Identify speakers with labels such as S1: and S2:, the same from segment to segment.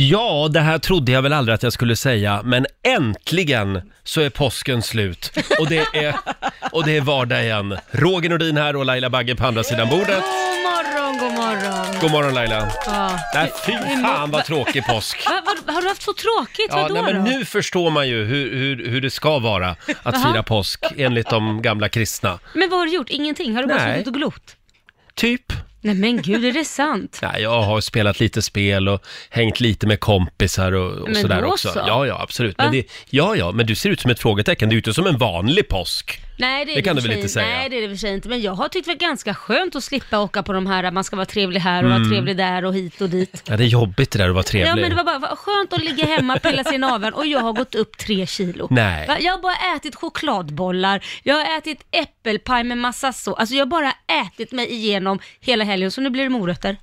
S1: Ja, det här trodde jag väl aldrig att jag skulle säga, men äntligen så är påsken slut och det är, och det är vardag igen. Roger Nordin här och Laila Bagge på andra sidan bordet.
S2: God morgon, god morgon.
S1: God morgon Laila!
S2: Ja.
S1: Nej, fy fan vad tråkig påsk!
S2: Va, va, har du haft så tråkigt?
S1: Ja,
S2: Vadå
S1: nej, men
S2: då?
S1: nu förstår man ju hur, hur, hur det ska vara att
S2: Jaha.
S1: fira påsk enligt de gamla kristna.
S2: Men vad har du gjort? Ingenting? Har du bara
S1: Nej.
S2: suttit och glott?
S1: Typ.
S2: Nej men gud, är det sant?
S1: Nej, jag har spelat lite spel och hängt lite med kompisar och, och
S2: Men
S1: sådär
S2: då
S1: också.
S2: så.
S1: Ja, ja, absolut.
S2: Va?
S1: Men det, ja, ja, men du ser ut som ett frågetecken. Du är ju inte som en vanlig påsk.
S2: Nej, det, är
S1: Det kan
S2: i
S1: du
S2: och
S1: väl
S2: för sig-
S1: inte säga?
S2: Nej, det är det i och för sig inte. Men jag har tyckt det var ganska skönt att slippa åka på de här, att man ska vara trevlig här och
S1: Mm.
S2: vara trevlig där och hit och dit.
S1: Ja, det är jobbigt det där att vara trevlig.
S2: Ja, men det var bara vad skönt att ligga hemma, pilla sig i naveln och jag har gått upp tre kilo.
S1: Nej.
S2: Va? Jag har bara ätit chokladbollar, jag har ätit äppelpaj med massa så. Alltså jag har bara ätit mig igenom hela helgen, så nu blir det morötter.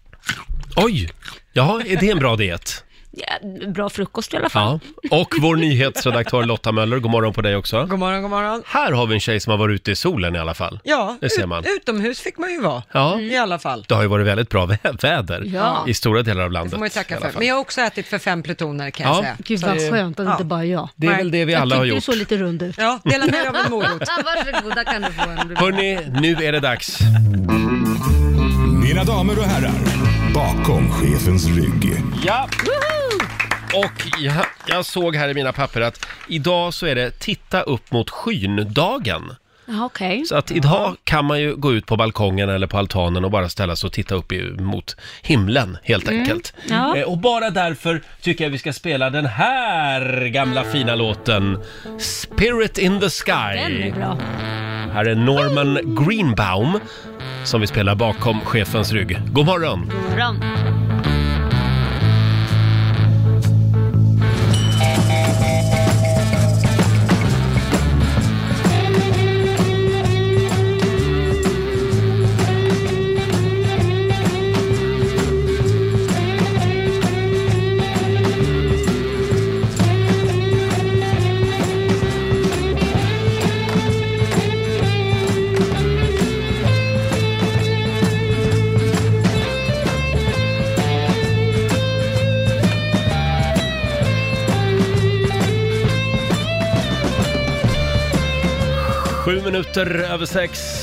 S1: Oj! Ja, är det en bra diet?
S2: Ja, bra frukost i alla fall.
S1: Ja. Och vår nyhetsredaktör Lotta Möller, god morgon på dig också.
S3: God morgon, god morgon.
S1: Här har vi en tjej som har varit ute i solen i alla fall.
S3: Ja,
S1: Det ser man.
S3: Ut, utomhus fick man ju vara
S1: Ja. Mm.
S3: i alla fall.
S1: Det har ju varit väldigt bra vä- väder
S2: Ja.
S1: i stora delar av
S3: Det
S1: landet.
S3: får man ju tacka
S1: i alla
S3: för.
S1: fall.
S3: Men jag har också ätit för fem plutoner kan jag
S1: Ja.
S3: säga.
S2: Gud
S3: Så
S2: vad
S3: det-
S2: skönt att det
S3: ja.
S2: inte bara är jag.
S1: Det är väl det vi alla har
S2: jag tyckte du
S1: gjort.
S2: såg lite rund ut.
S3: Ja, dela med dig av en morot.
S2: Varsågoda kan du få en.
S1: Hörni, nu är det dags.
S4: Mina damer och herrar, bakom chefens rygg.
S1: Ja! Och jag, jag såg här i mina papper att idag så är det titta upp mot skyn-dagen.
S2: Ja, okej.
S1: Så att idag kan man ju gå ut på balkongen eller på altanen och bara ställa sig och titta upp i, mot himlen helt enkelt.
S2: Mm. Ja.
S1: Eh, och bara därför tycker jag vi ska spela den här gamla fina låten Spirit in the
S2: Den
S1: Sky.
S2: är bra.
S1: Här är Norman Greenbaum som vi spelar bakom chefens rygg. God morgon!
S2: Bra.
S1: Sju minuter över sex.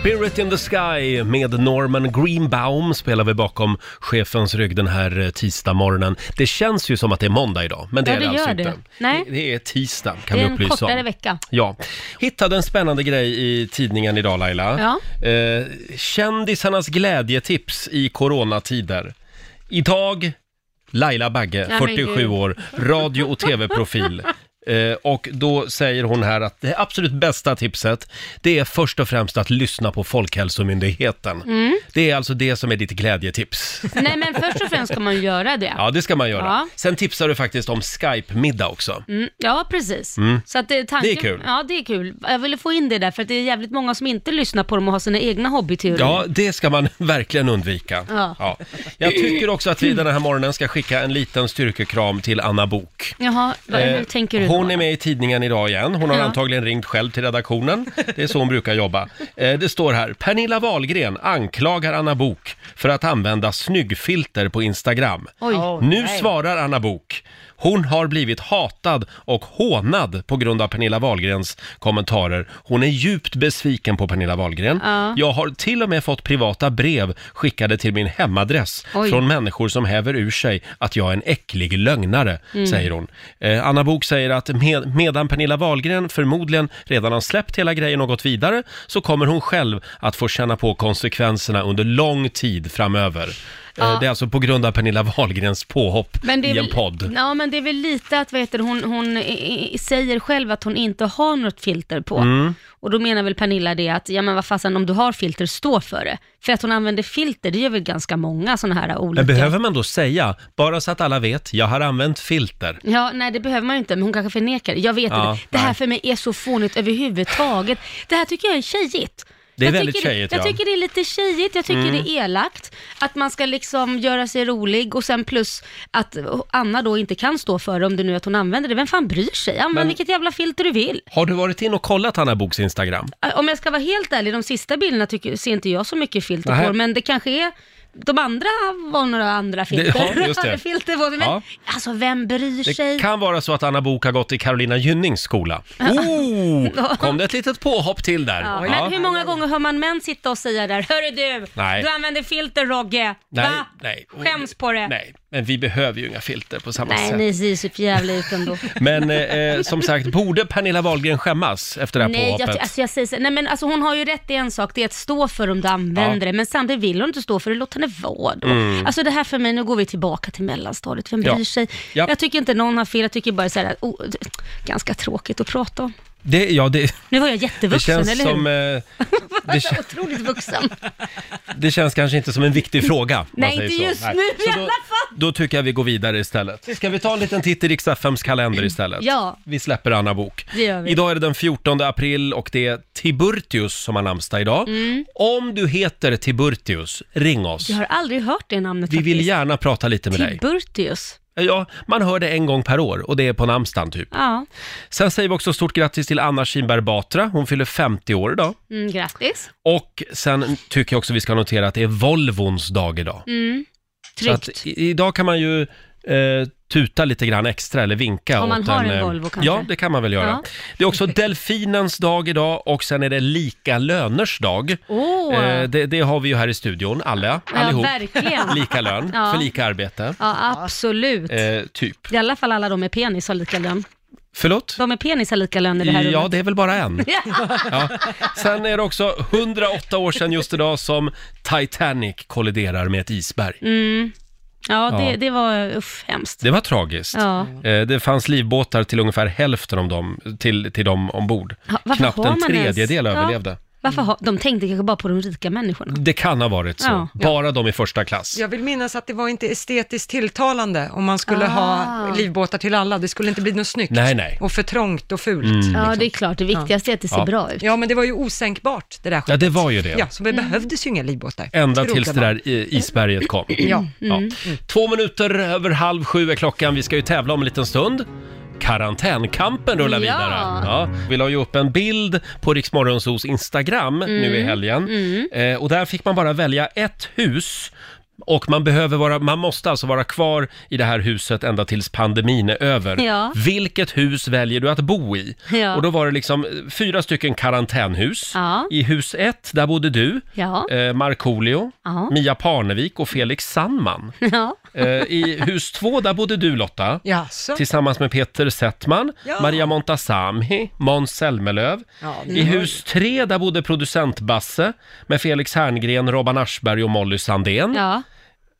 S1: Spirit in the Sky med Norman Greenbaum spelar vi bakom chefens rygg den här eh, tisdagmorgonen. Det känns ju som att det är måndag idag, men det
S2: Ja,
S1: är det,
S2: det
S1: alltså
S2: gör
S1: inte.
S2: det. Nej.
S1: Det, det är tisdag, kan
S2: Det är
S1: vi
S2: en
S1: upplysa
S2: kortare
S1: om.
S2: vecka.
S1: Ja. Hittade en spännande grej i tidningen idag, Laila.
S2: Ja.
S1: Eh, kändisarnas glädjetips i coronatider. Idag, Laila Bagge,
S2: Nej, men
S1: 47
S2: gud.
S1: år, radio och tv-profil. Eh, och då säger hon här att det absolut bästa tipset, det är först och främst att lyssna på Folkhälsomyndigheten.
S2: Mm.
S1: Det är alltså det som är ditt glädjetips.
S2: Nej men först och främst ska man ju göra det.
S1: Ja, det ska man göra.
S2: Ja.
S1: Sen tipsar du faktiskt om Skype-middag också.
S2: Mm, ja, precis. Så att det, är tanken,
S1: Mm. Det är kul.
S2: Ja, det är kul. Jag ville få in det där, för att det är jävligt många som inte lyssnar på dem och har sina egna hobbyteorier.
S1: Ja, det ska man verkligen undvika. Ja.
S2: Mm. Ja.
S1: Jag tycker också att vi den här morgonen ska skicka en liten styrkekram till Anna Bok.
S2: Jaha, vad, hur tänker du?
S1: Eh, hon
S2: då?
S1: är med i tidningen idag igen. Hon har
S2: Ja.
S1: antagligen ringt själv till redaktionen. Det är så hon brukar jobba. Eh, Det står här, Pernilla Wahlgren anklagar Anna Bok för att använda snyggfilter på Instagram.
S2: Oj.
S1: Nu svarar Anna Bok. Hon har blivit hatad och hånad på grund av Pernilla Wahlgrens kommentarer. Hon är djupt besviken på Pernilla Wahlgren.
S2: Ja.
S1: Jag har till och med fått privata brev skickade till min hemadress
S2: Oj.
S1: från människor som häver ur sig att jag är en äcklig lögnare,
S2: Mm.
S1: säger hon. Eh, Anna Bok säger att med, medan Pernilla Wahlgren förmodligen redan har släppt hela grejen och gått vidare så kommer hon själv att få känna på konsekvenserna under lång tid framöver. Eh, det är alltså på grund av Pernilla Wahlgrens påhopp
S2: Men det är
S1: i en
S2: väl,
S1: podd.
S2: Ja, men det är väl lite att, vad heter det, hon, hon i- i- säger själv att hon inte har något filter på.
S1: Mm.
S2: Och då menar väl Pernilla det att, ja men vad fasen, om du har filter, stå för det. För att hon använder filter, det gör väl ganska många sådana här olika.
S1: Men behöver man då säga, bara så att alla vet, jag har använt filter.
S2: Ja, nej det behöver man ju inte, men hon kanske förnekar det. Jag vet
S1: Ja,
S2: inte. Det
S1: nej.
S2: här för mig är så fånigt överhuvudtaget. Det här tycker jag är tjejigt.
S1: Det är
S2: jag
S1: väldigt
S2: tycker,
S1: tjejigt,
S2: Jag
S1: ja. Mm.
S2: tycker det är lite tjejigt, jag tycker det är elakt. Att man ska liksom göra sig rolig och sen plus att Anna då inte kan stå för det, om det nu är att hon använder det. Vem fan bryr sig? Använd
S1: Men-
S2: vilket jävla filter du vill.
S1: Har du varit in och kollat Anna Boks Instagram?
S2: Om jag ska vara helt ärlig, de sista bilderna tycker, ser inte jag så mycket filter
S1: Nej.
S2: på, men det kanske är de andra var några andra filter.
S1: ja, just det.
S2: Hade filter på sig, men
S1: Ja.
S2: alltså vem bryr sig?
S1: Det kan vara så att Anna Bok har gått i Carolina Gynnings skola. Oh, kom det ett litet påhopp till där.
S2: Ja.
S1: Ja.
S2: Men hur många gånger hör man män sitta och säga där, hörru du,
S1: Nej.
S2: du använder filter Rogge,
S1: Nej,
S2: va?
S1: nej.
S2: Skäms på det.
S1: Nej, men vi behöver ju inga filter på samma
S2: Nej,
S1: sätt.
S2: ni ser ju så för jävla ut ändå.
S1: Men eh, eh, som sagt, borde Pernilla Wahlgren skämmas efter det här
S2: Nej, jag,
S1: påhoppet?
S2: ty- alltså jag säger så, nej men alltså hon har ju rätt i en sak, det är att stå för om du använder
S1: Ja. Mm.
S2: det, men samtidigt vill hon inte stå för det, låt henne vara då. Alltså det här för mig, nu går vi tillbaka till mellanstadiet, vem
S1: Ja.
S2: bryr sig?
S1: Ja.
S2: Jag tycker inte någon har fel, jag tycker bara så här, oh, det- ganska tråkigt att prata om.
S1: det, ja, det,
S2: Nu var jag
S1: det
S2: jättevuxen,
S1: känns
S2: eller hur?
S1: som... Eh, det, kä-
S2: Otroligt vuxen.
S1: det känns kanske inte som en viktig fråga. om man
S2: Nej,
S1: säger
S2: inte
S1: så.
S2: just
S1: Nej.
S2: nu
S1: Så
S2: i
S1: då-
S2: alla fall.
S1: Då tycker jag vi går vidare istället. Ska vi ta en liten titt i riks kalender istället?
S2: Mm. Ja.
S1: Vi släpper Anna Bok.
S2: Det gör vi.
S1: Idag är det den 14 april och det är Tiburtius som har namnsdag idag.
S2: Mm.
S1: Om du heter Tiburtius, ring oss.
S2: Jag har aldrig hört det namnet
S1: Vi vill
S2: faktiskt.
S1: gärna prata lite med dig.
S2: Tiburtius.
S1: Ja, man hör det en gång per år och det är på namnsdagen typ.
S2: Ja,
S1: Sen säger vi också stort grattis till Anna Kinberg Batra. Hon fyller 50 år idag.
S2: mm, grattis.
S1: Och sen tycker jag också vi ska notera att det är Volvons dag idag. Så
S2: Tryggt.
S1: att i- idag kan man ju eh, tuta lite grann extra eller vinka.
S2: Om man
S1: åt
S2: har en
S1: eh,
S2: Volvo kanske.
S1: Ja, det kan man väl göra.
S2: Ja.
S1: Det är också delfinens dag idag och sen är det lika löners dag.
S2: Åh.
S1: Eh, det, det har vi ju här i studion, alla, allihop.
S2: Ja, verkligen.
S1: Lika lön
S2: Ja.
S1: för lika arbete.
S2: Ja, absolut.
S1: Eh, typ.
S2: I alla fall alla de med penis har lika lön.
S1: Förlåt?
S2: De med penis har lika lön i det här
S1: Ja,
S2: rummet.
S1: det är väl bara en.
S2: Ja.
S1: Ja. Sen är det också 108 år sedan just idag som Titanic kolliderar med ett isberg.
S2: Ja,
S1: Ja.
S2: det, det var usch, hemskt.
S1: Det var tragiskt.
S2: Ja.
S1: Eh, Det fanns livbåtar till ungefär hälften av dem, till, till dem ombord.
S2: Ja, varför
S1: Knappt
S2: har
S1: en
S2: man ens-
S1: tredjedel
S2: Ja.
S1: överlevde. Mm,
S2: Varför har, de tänkte kanske bara på de rika människorna.
S1: Det kan ha varit så.
S2: Ja.
S1: Bara de i första klass.
S3: Jag vill minnas att det var inte estetiskt tilltalande om man skulle ha
S2: Ah.
S3: livbåtar till alla. Det skulle inte bli något snyggt.
S1: Nej, nej. Mm.
S3: Och för trångt och fult.
S2: Ja, det är klart. Det viktigaste är att det ser
S1: liksom. Ja.
S2: bra ut.
S3: Ja, men det var ju osänkbart det där
S1: Ja, det var ju det.
S3: Ja, så det behövdes ju inga livbåtar.
S1: Ända
S3: Skrota
S1: tills det
S3: bara.
S1: där i- isberget kom.
S3: Ja.
S1: Ja.
S2: Mm.
S1: Två minuter över halv sju är klockan. Vi ska ju tävla om en liten stund. Karantänkampen rullar
S2: Ja.
S1: vidare. Ja. Vi la ju upp en bild på Riksmorgonsos Instagram nu i
S2: Mm.
S1: helgen. Eh, och där fick man bara välja ett hus. Och man, behöver vara, man måste alltså vara kvar i det här huset ända tills pandemin är över.
S2: Ja.
S1: Vilket hus väljer du att bo i?
S2: Ja.
S1: Och då var det liksom eh, fyra stycken karantänhus.
S2: Ja.
S1: I hus ett, där bodde du,
S2: Ja.
S1: eh, Markoolio,
S2: Ja.
S1: Mia Parnevik och Felix Sandman.
S2: Ja.
S1: Eh, I hus två, där bodde du Lotta.
S3: Jaså?
S1: Tillsammans med Peter Settman,
S3: Ja.
S1: Maria Montazami, Måns Zelmerlöw.
S3: Ja, det
S1: I
S3: var ju-
S1: hus tre, där bodde producent Basse med Felix Herngren, Robban Aschberg och Molly Sandén.
S2: ja.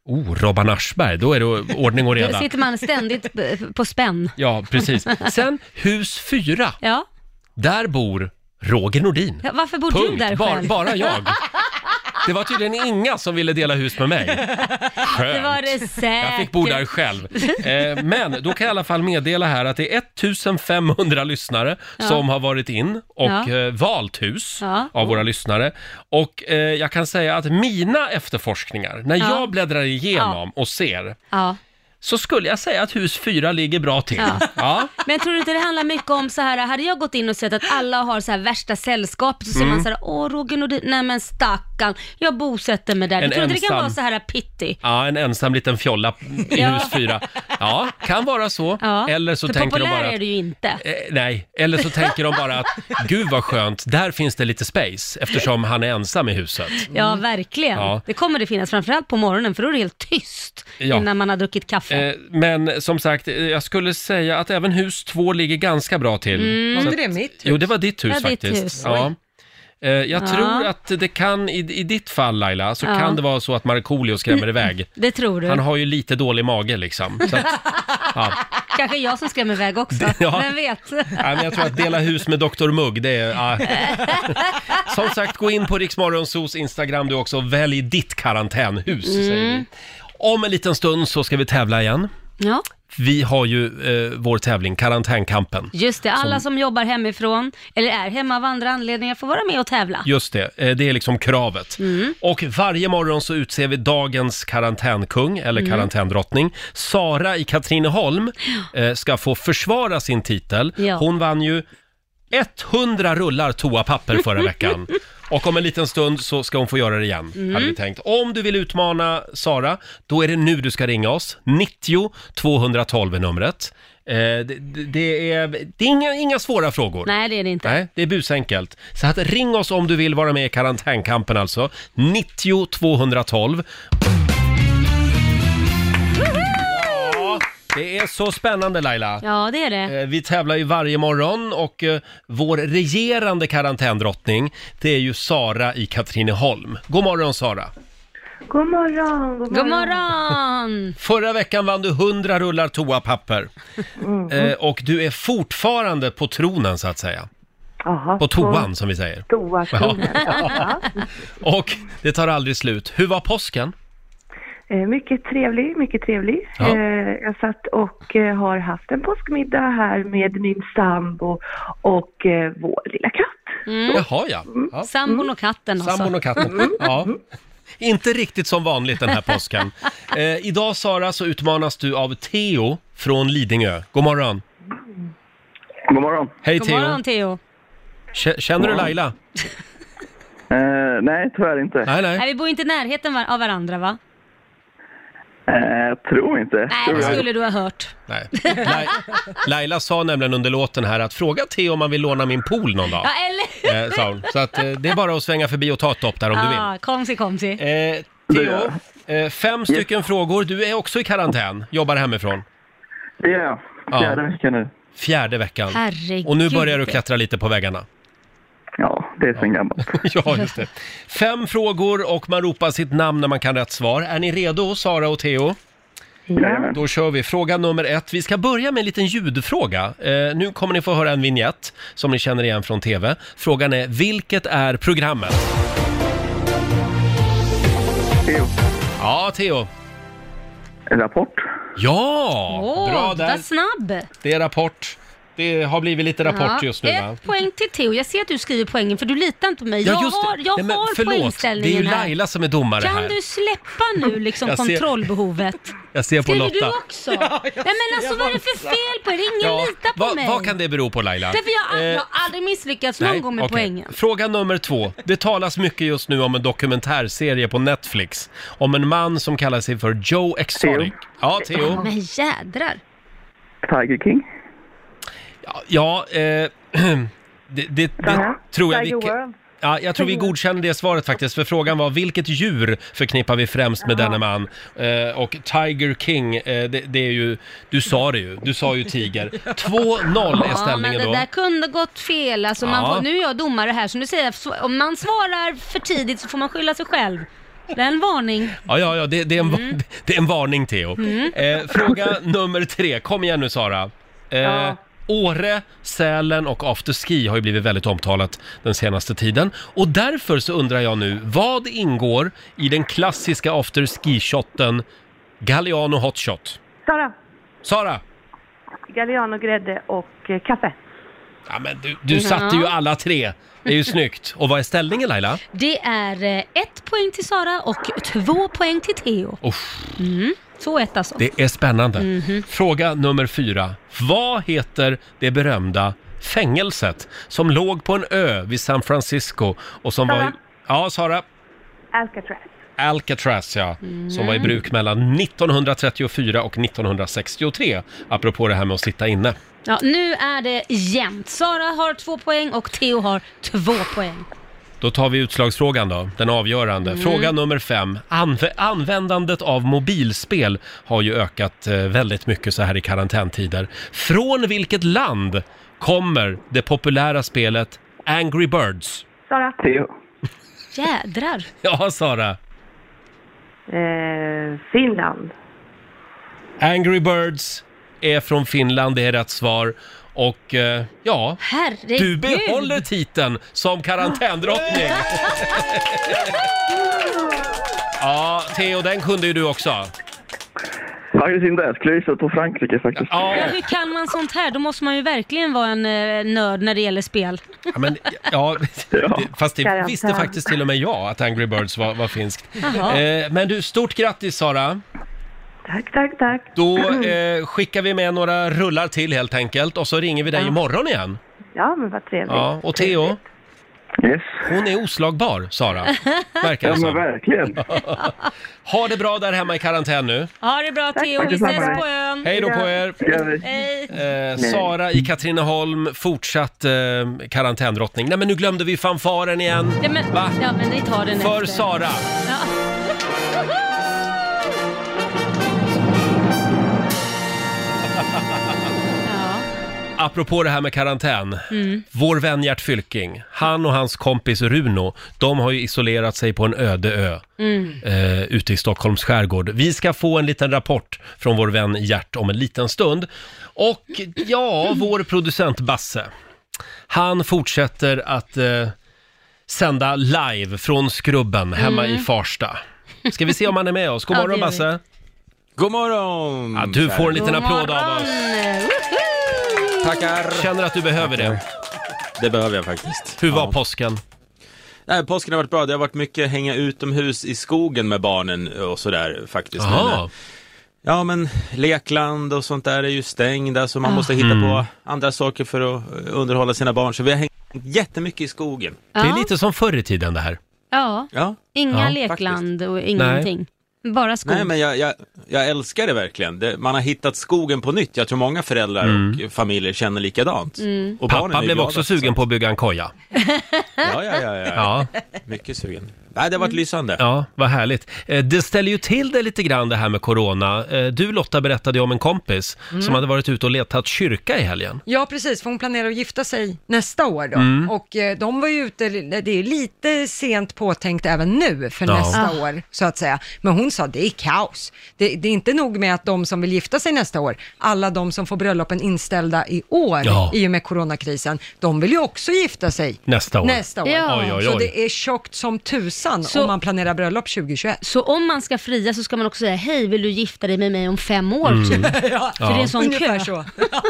S1: Oh, Robban Aschberg, då är det ordning och
S2: Då
S1: reda.
S2: sitter man ständigt b- på spänn.
S1: Ja, precis.
S3: Mm.
S1: Sen hus fyra,
S2: Ja.
S1: där bor Roger Nordin.
S2: Ja, Varför bor du
S1: Punkt,
S2: där
S1: Bar,
S2: själv?
S1: bara jag. Det var tydligen inga som ville dela hus med mig. Skönt.
S2: Det var det säkert.
S1: Jag fick bo där själv. Eh, men då kan jag i alla fall meddela här att det är 1500 lyssnare som har varit in och
S2: Ja.
S1: eh, valt hus
S2: Ja.
S1: av våra lyssnare. Och eh, jag kan säga att mina efterforskningar, när
S2: Ja.
S1: jag bläddrar igenom och ser,
S2: Ja.
S1: så skulle jag säga att hus 4 ligger bra till. Ja.
S2: Ja. Men tror du inte det handlar mycket om så här, hade jag gått in och sett att alla har så här värsta sällskapet så ser
S1: Mm.
S2: man så här, åh Roger Nordin, nej men stackarn, jag bosätter mig där.
S1: En
S2: du tror inte det kan
S1: ensam-
S2: vara så här pity?
S1: Ja, en ensam liten fjolla i
S2: Ja.
S1: hus 4. Ja, kan vara så.
S2: Ja.
S1: Eller så
S2: För
S1: tänker de
S2: populär
S1: bara
S2: är
S1: att
S2: du ju inte.
S1: Eh, nej, eller så tänker de bara att gud vad skönt, där finns det lite space eftersom han är ensam i huset.
S2: Ja, verkligen.
S1: Ja.
S2: Det kommer det finnas, framförallt på morgonen, för då är det helt tyst
S1: Ja.
S2: innan man har druckit kaffe.
S1: Eh, men som sagt, eh, jag skulle säga att även hus två ligger ganska bra till.
S3: Var inte det mitt?
S1: Jo, det var ditt hus
S2: Mm. Ja, ditt
S1: faktiskt.
S2: hus.
S1: Ja. Eh, jag tror att det kan, i, i ditt fall Laila, så
S2: Ja. Mm.
S1: kan det vara så att Markoolio skrämmer iväg.
S2: det tror du.
S1: Han har ju lite dålig mage liksom. Så att, ja.
S2: Kanske jag som skrämmer iväg också,
S1: ja.
S2: vem vet?
S1: Nej, men jag tror att dela hus med Dr. Mugg, det är... Ja. Som sagt, gå in på Riksmorgonsos Instagram du också och välj ditt karantänhus, säger vi. Om en liten stund så ska vi tävla igen.
S2: Ja,
S1: Vi har ju eh, vår tävling, Karantänkampen.
S2: just det. Alla som jobbar hemifrån, eller är hemma av andra anledningar, får vara med och tävla.
S1: Just det, eh, det är liksom kravet. Och varje morgon så utser vi dagens karantänkung eller karantändrottning. Sara i Katrineholm eh, ska få försvara sin titel.
S2: Ja.
S1: Hon vann ju 100 rullar toapapper förra veckan. Och om en liten stund så ska hon få göra det igen, hade vi tänkt. Om du vill utmana Sara, då är det nu du ska ringa oss. 90 212 är numret. Eh, det, det- det är, det är inga, inga svåra frågor.
S2: Nej, det är det inte.
S1: Nej, det är busenkelt. Så att ring oss om du vill vara med i karantänkampen alltså. 90 212. Ja, det är så spännande Laila.
S2: Ja, det är det.
S1: Eh, Vi tävlar ju varje morgon och eh, vår regerande karantändrottning, det är ju Sara i Katrineholm. God morgon Sara!
S5: God morgon, god
S2: God
S5: morgon.
S2: morgon!
S1: Förra veckan vann du 100 rullar toapapper. Eh, och du är fortfarande på tronen så att säga.
S5: Jaha,
S1: På toan som vi säger.
S5: Toa, toan. Ja.
S1: Och det tar aldrig slut. Hur var påsken?
S5: Eh, Mycket trevlig, mycket trevlig.
S1: Ja.
S5: Eh, Jag satt och eh, har haft en påskmiddag här med min sambo och eh, vår lilla katt.
S1: Jaha ja. ja.
S2: Sambon och katten
S1: Mm.
S2: alltså.
S1: Sambon
S2: också.
S1: och katten. Ja. Inte riktigt som vanligt den här påsken. Eh, idag Sara så utmanas du av Theo från Lidingö. God morgon!
S6: God morgon.
S1: Hej
S2: God
S1: Theo! Eh.
S2: morgon Theo.
S1: K- Känner du Laila?
S6: Eh, nej, tyvärr inte.
S1: Nej,
S2: Nej,
S1: nej.
S2: vi bor inte i närheten var- av varandra va?
S6: Eh, tror inte.
S2: Nej,
S6: tror
S2: det
S6: jag.
S2: skulle du ha hört.
S1: nej. Lai- Laila sa nämligen under låten här att fråga Theo om han vill låna min pool någon dag.
S2: Ja, eller?
S1: Eh, sa hon. Så att eh, det är bara att svänga förbi och ta ett dopp där om du vill.
S2: Ja, Ah, komsi komsi.
S1: Eh,
S6: Det
S1: Theo,
S6: gör
S1: eh, fem stycken frågor. Du är också i karantän, jobbar hemifrån.
S6: Det är jag.
S1: Ja.
S6: Fjärde veckan nu.
S1: Fjärde veckan.
S2: Herregud.
S1: Och nu börjar du klättra lite på väggarna.
S6: Ja, det är sen gammalt.
S1: Ja, just det. Fem frågor och man ropar sitt namn när man kan rätt svar. Är ni redo, Sara och Theo?
S6: Jajamän.
S1: Då kör vi. Fråga nummer ett. Vi ska börja med en liten ljudfråga. Eh, nu kommer ni få höra en vignett som ni känner igen från TV. Frågan är, vilket är programmet?
S6: Jo.
S1: Ja, Theo.
S6: Rapport.
S1: Ja!
S2: Åh,
S1: Bra där.
S2: vad snabb!
S1: Det är Rapport. Det har blivit lite Rapport
S2: Ja,
S1: just nu, va?
S2: Ett poäng till Theo. Jag ser att du skriver poängen för du litar inte på mig. jag
S1: just det.
S2: har, jag
S1: Nej, men
S2: har
S1: förlåt. Det är ju
S2: poängställningen här.
S1: Laila som är domare
S2: Kan
S1: här.
S2: du släppa nu liksom
S1: Jag ser-
S2: kontrollbehovet?
S1: Jag ser på
S2: Skriver
S1: Lotta.
S2: du också? Nej men alltså vad är det för fel på er? Ingen litar på
S1: vad,
S2: mig.
S1: vad kan det bero på, Laila?
S2: Därför jag,
S1: Eh,
S2: jag har aldrig misslyckats någon
S1: Nej,
S2: gång med
S1: okej.
S2: poängen.
S1: Fråga nummer två. Det talas mycket just nu om en dokumentärserie på Netflix om en man som kallar sig för Joe Exotic.
S6: Theo.
S1: Ja, Theo.
S2: Men jädrar.
S6: Tiger King.
S1: Ja, eh, det, det, det
S5: Ja.
S1: tror jag...
S5: Tiger
S1: vilket-
S5: Worm.
S1: Ja, jag tror vi godkänner det svaret faktiskt, för frågan var vilket djur förknippar vi främst med denne man? Eh, och Tiger King, eh, det, det är ju, du sa det ju, du sa ju tiger. 2-0 är
S2: Ja, men
S1: ställningen
S2: det
S1: då.
S2: där kunde gått fel. Alltså, man
S1: Ja.
S2: får, nu är jag domare här, så nu säger jag sv- om man svarar för tidigt så får man skylla sig själv. Det är en varning.
S1: Ja, ja, ja, det, det, är, en, va- det är en varning Theo. Eh, fråga nummer tre, kom igen nu Sara. Eh, Åre, Sälen och afterski har ju blivit väldigt omtalat den senaste tiden. Och därför så undrar jag nu, vad ingår i den klassiska afterski-shotten Galliano Hot Shot?
S5: Sara,
S1: Sara!
S5: Galliano grädde och eh, kaffe.
S1: Ja, men du, du satte ju alla tre. Det är ju snyggt. Och vad är ställningen Laila?
S2: Det är eh, ett poäng till Sara och två poäng till Theo.
S1: Usch,
S2: Så ett alltså.
S1: det är spännande.
S5: Mhm.
S1: Fråga nummer fyra. Vad heter det berömda fängelset som låg på en ö vid San Francisco och som var...
S5: Sara.
S1: i- Ja, Sara.
S5: Alcatraz. Mhm.
S1: Alcatraz, ja. Som var i bruk mellan 1934 och 1963. Apropå det här med att sitta inne.
S2: Ja, nu är det jämnt. Sara har två poäng och Theo har två poäng.
S1: Då tar vi utslagsfrågan då, den avgörande. Fråga nummer fem. Anv- användandet av mobilspel har ju ökat eh, väldigt mycket så här i karantäntider. Från vilket land kommer det populära spelet Angry Birds?
S5: Sara,
S6: Theo.
S2: Jädrar.
S1: Ja, Sara.
S5: eh, Finland.
S1: Angry Birds är från Finland, det är rätt svar. Och eh, ja,
S2: Herregud.
S1: du behåller titeln som karantändrottning! Ja, Theo, den kunde ju du också.
S6: Faktiskt inte. Jag skulle gissa på Frankrike faktiskt.
S1: Ja.
S2: Ja, hur kan man sånt här? Då måste man ju verkligen vara en eh, nörd när det gäller spel.
S1: Ja, men, ja,
S6: Ja.
S1: det- fast det
S5: Garantär.
S1: visste faktiskt till och med jag att Angry Birds var, var finskt.
S2: Jaha.
S1: Eh, men du, stort grattis Sara!
S5: Tack, tack, tack.
S1: Då eh, skickar vi med några rullar till helt enkelt och så ringer vi dig imorgon igen.
S5: Ja, men vad trevligt.
S1: Ja, och Theo,
S6: Yes.
S1: hon är oslagbar, Sara. Verkar
S6: Ja
S1: det
S6: men
S1: som.
S6: verkligen.
S1: Ha det bra där hemma i karantän nu.
S2: Ha det bra Theo, vi
S5: detsamma.
S2: ses på ön.
S1: Hej då på er!
S6: Det gör vi.
S2: Hej.
S1: Eh, Sara i Katrineholm, fortsatt eh, karantändrottning. Nej men nu glömde vi fanfaren igen.
S2: Ja, men,
S1: Va?
S2: ja, men vi tar den
S1: För
S2: efter.
S1: Sara!
S2: Ja. Ja.
S1: Apropå det här med karantän.
S2: Mm.
S1: Vår vän Gert Fylking, han och hans kompis Runo, de har ju isolerat sig på en öde ö
S2: Mm.
S1: eh, ute i Stockholms skärgård. Vi ska få en liten rapport från vår vän Gert om en liten stund. Och ja, vår producent Basse, han fortsätter att eh, sända live från Skrubben hemma i Farsta. Ska vi se om han är med oss? God
S2: Mm. Ja,
S1: morgon
S2: det gör vi.
S1: Basse!
S7: God morgon!
S1: Ja, du får en liten
S2: God
S1: applåd av
S2: morgon.
S1: oss.
S2: Woho!
S7: Tackar!
S1: Känner att du behöver det.
S7: Det behöver jag faktiskt.
S1: Hur var
S7: Ja.
S1: påsken?
S7: Nej, påsken har varit bra. Det har varit mycket hänga utomhus i skogen med barnen och sådär faktiskt. Men,
S1: Jaha.
S7: eh, ja, men lekland och sånt där är ju stängda så man måste hitta
S1: Mm.
S7: på andra saker för att eh, underhålla sina barn. Så vi har hängt jättemycket i skogen.
S1: Det är
S2: Ja.
S1: lite som förr i tiden det här.
S2: Ja,
S7: Ja.
S2: inga
S1: Ja,
S2: lekland och ingenting. Bara skog.
S7: Nej, men jag, jag, jag älskar det verkligen. Det, man har hittat skogen på nytt. Jag tror många föräldrar och familjer känner likadant. Och barnen
S1: Mm. Pappa
S7: är
S1: blev
S7: glada,
S1: också sugen
S7: så-
S1: på att bygga en koja.
S7: Ja, ja, ja, ja. ja.
S1: Ja, Mm.
S7: Mycket sugen. Nej, det har varit lysande.
S1: ja, vad härligt. Eh, Det ställer ju till det lite grann det här med corona. Eh, Du Lotta berättade ju om en kompis
S2: Mm.
S1: som hade varit ute och letat kyrka i helgen.
S3: Ja, precis, för hon planerar att gifta sig nästa år då.
S1: Mm.
S3: Och eh, de var ju ute, det är lite sent påtänkt även nu för
S1: Ja.
S3: nästa år, så att säga. Men hon sa, det är kaos. Det, det är inte nog med att de som vill gifta sig nästa år, alla de som får bröllopen inställda i år,
S1: Ja.
S3: i och med coronakrisen, de vill ju också gifta sig
S1: Nästa år.
S3: nästa år.
S2: Ja.
S1: Oj, oj,
S3: Så
S1: oj.
S3: det är tjockt som tusan
S2: Så-
S3: om man planerar bröllop 2021.
S2: Så om man ska fria så ska man också säga, hej vill du gifta dig med mig om fem år
S1: Mm.
S2: typ? För det är en sån
S3: Ungefär
S2: kö.
S3: så.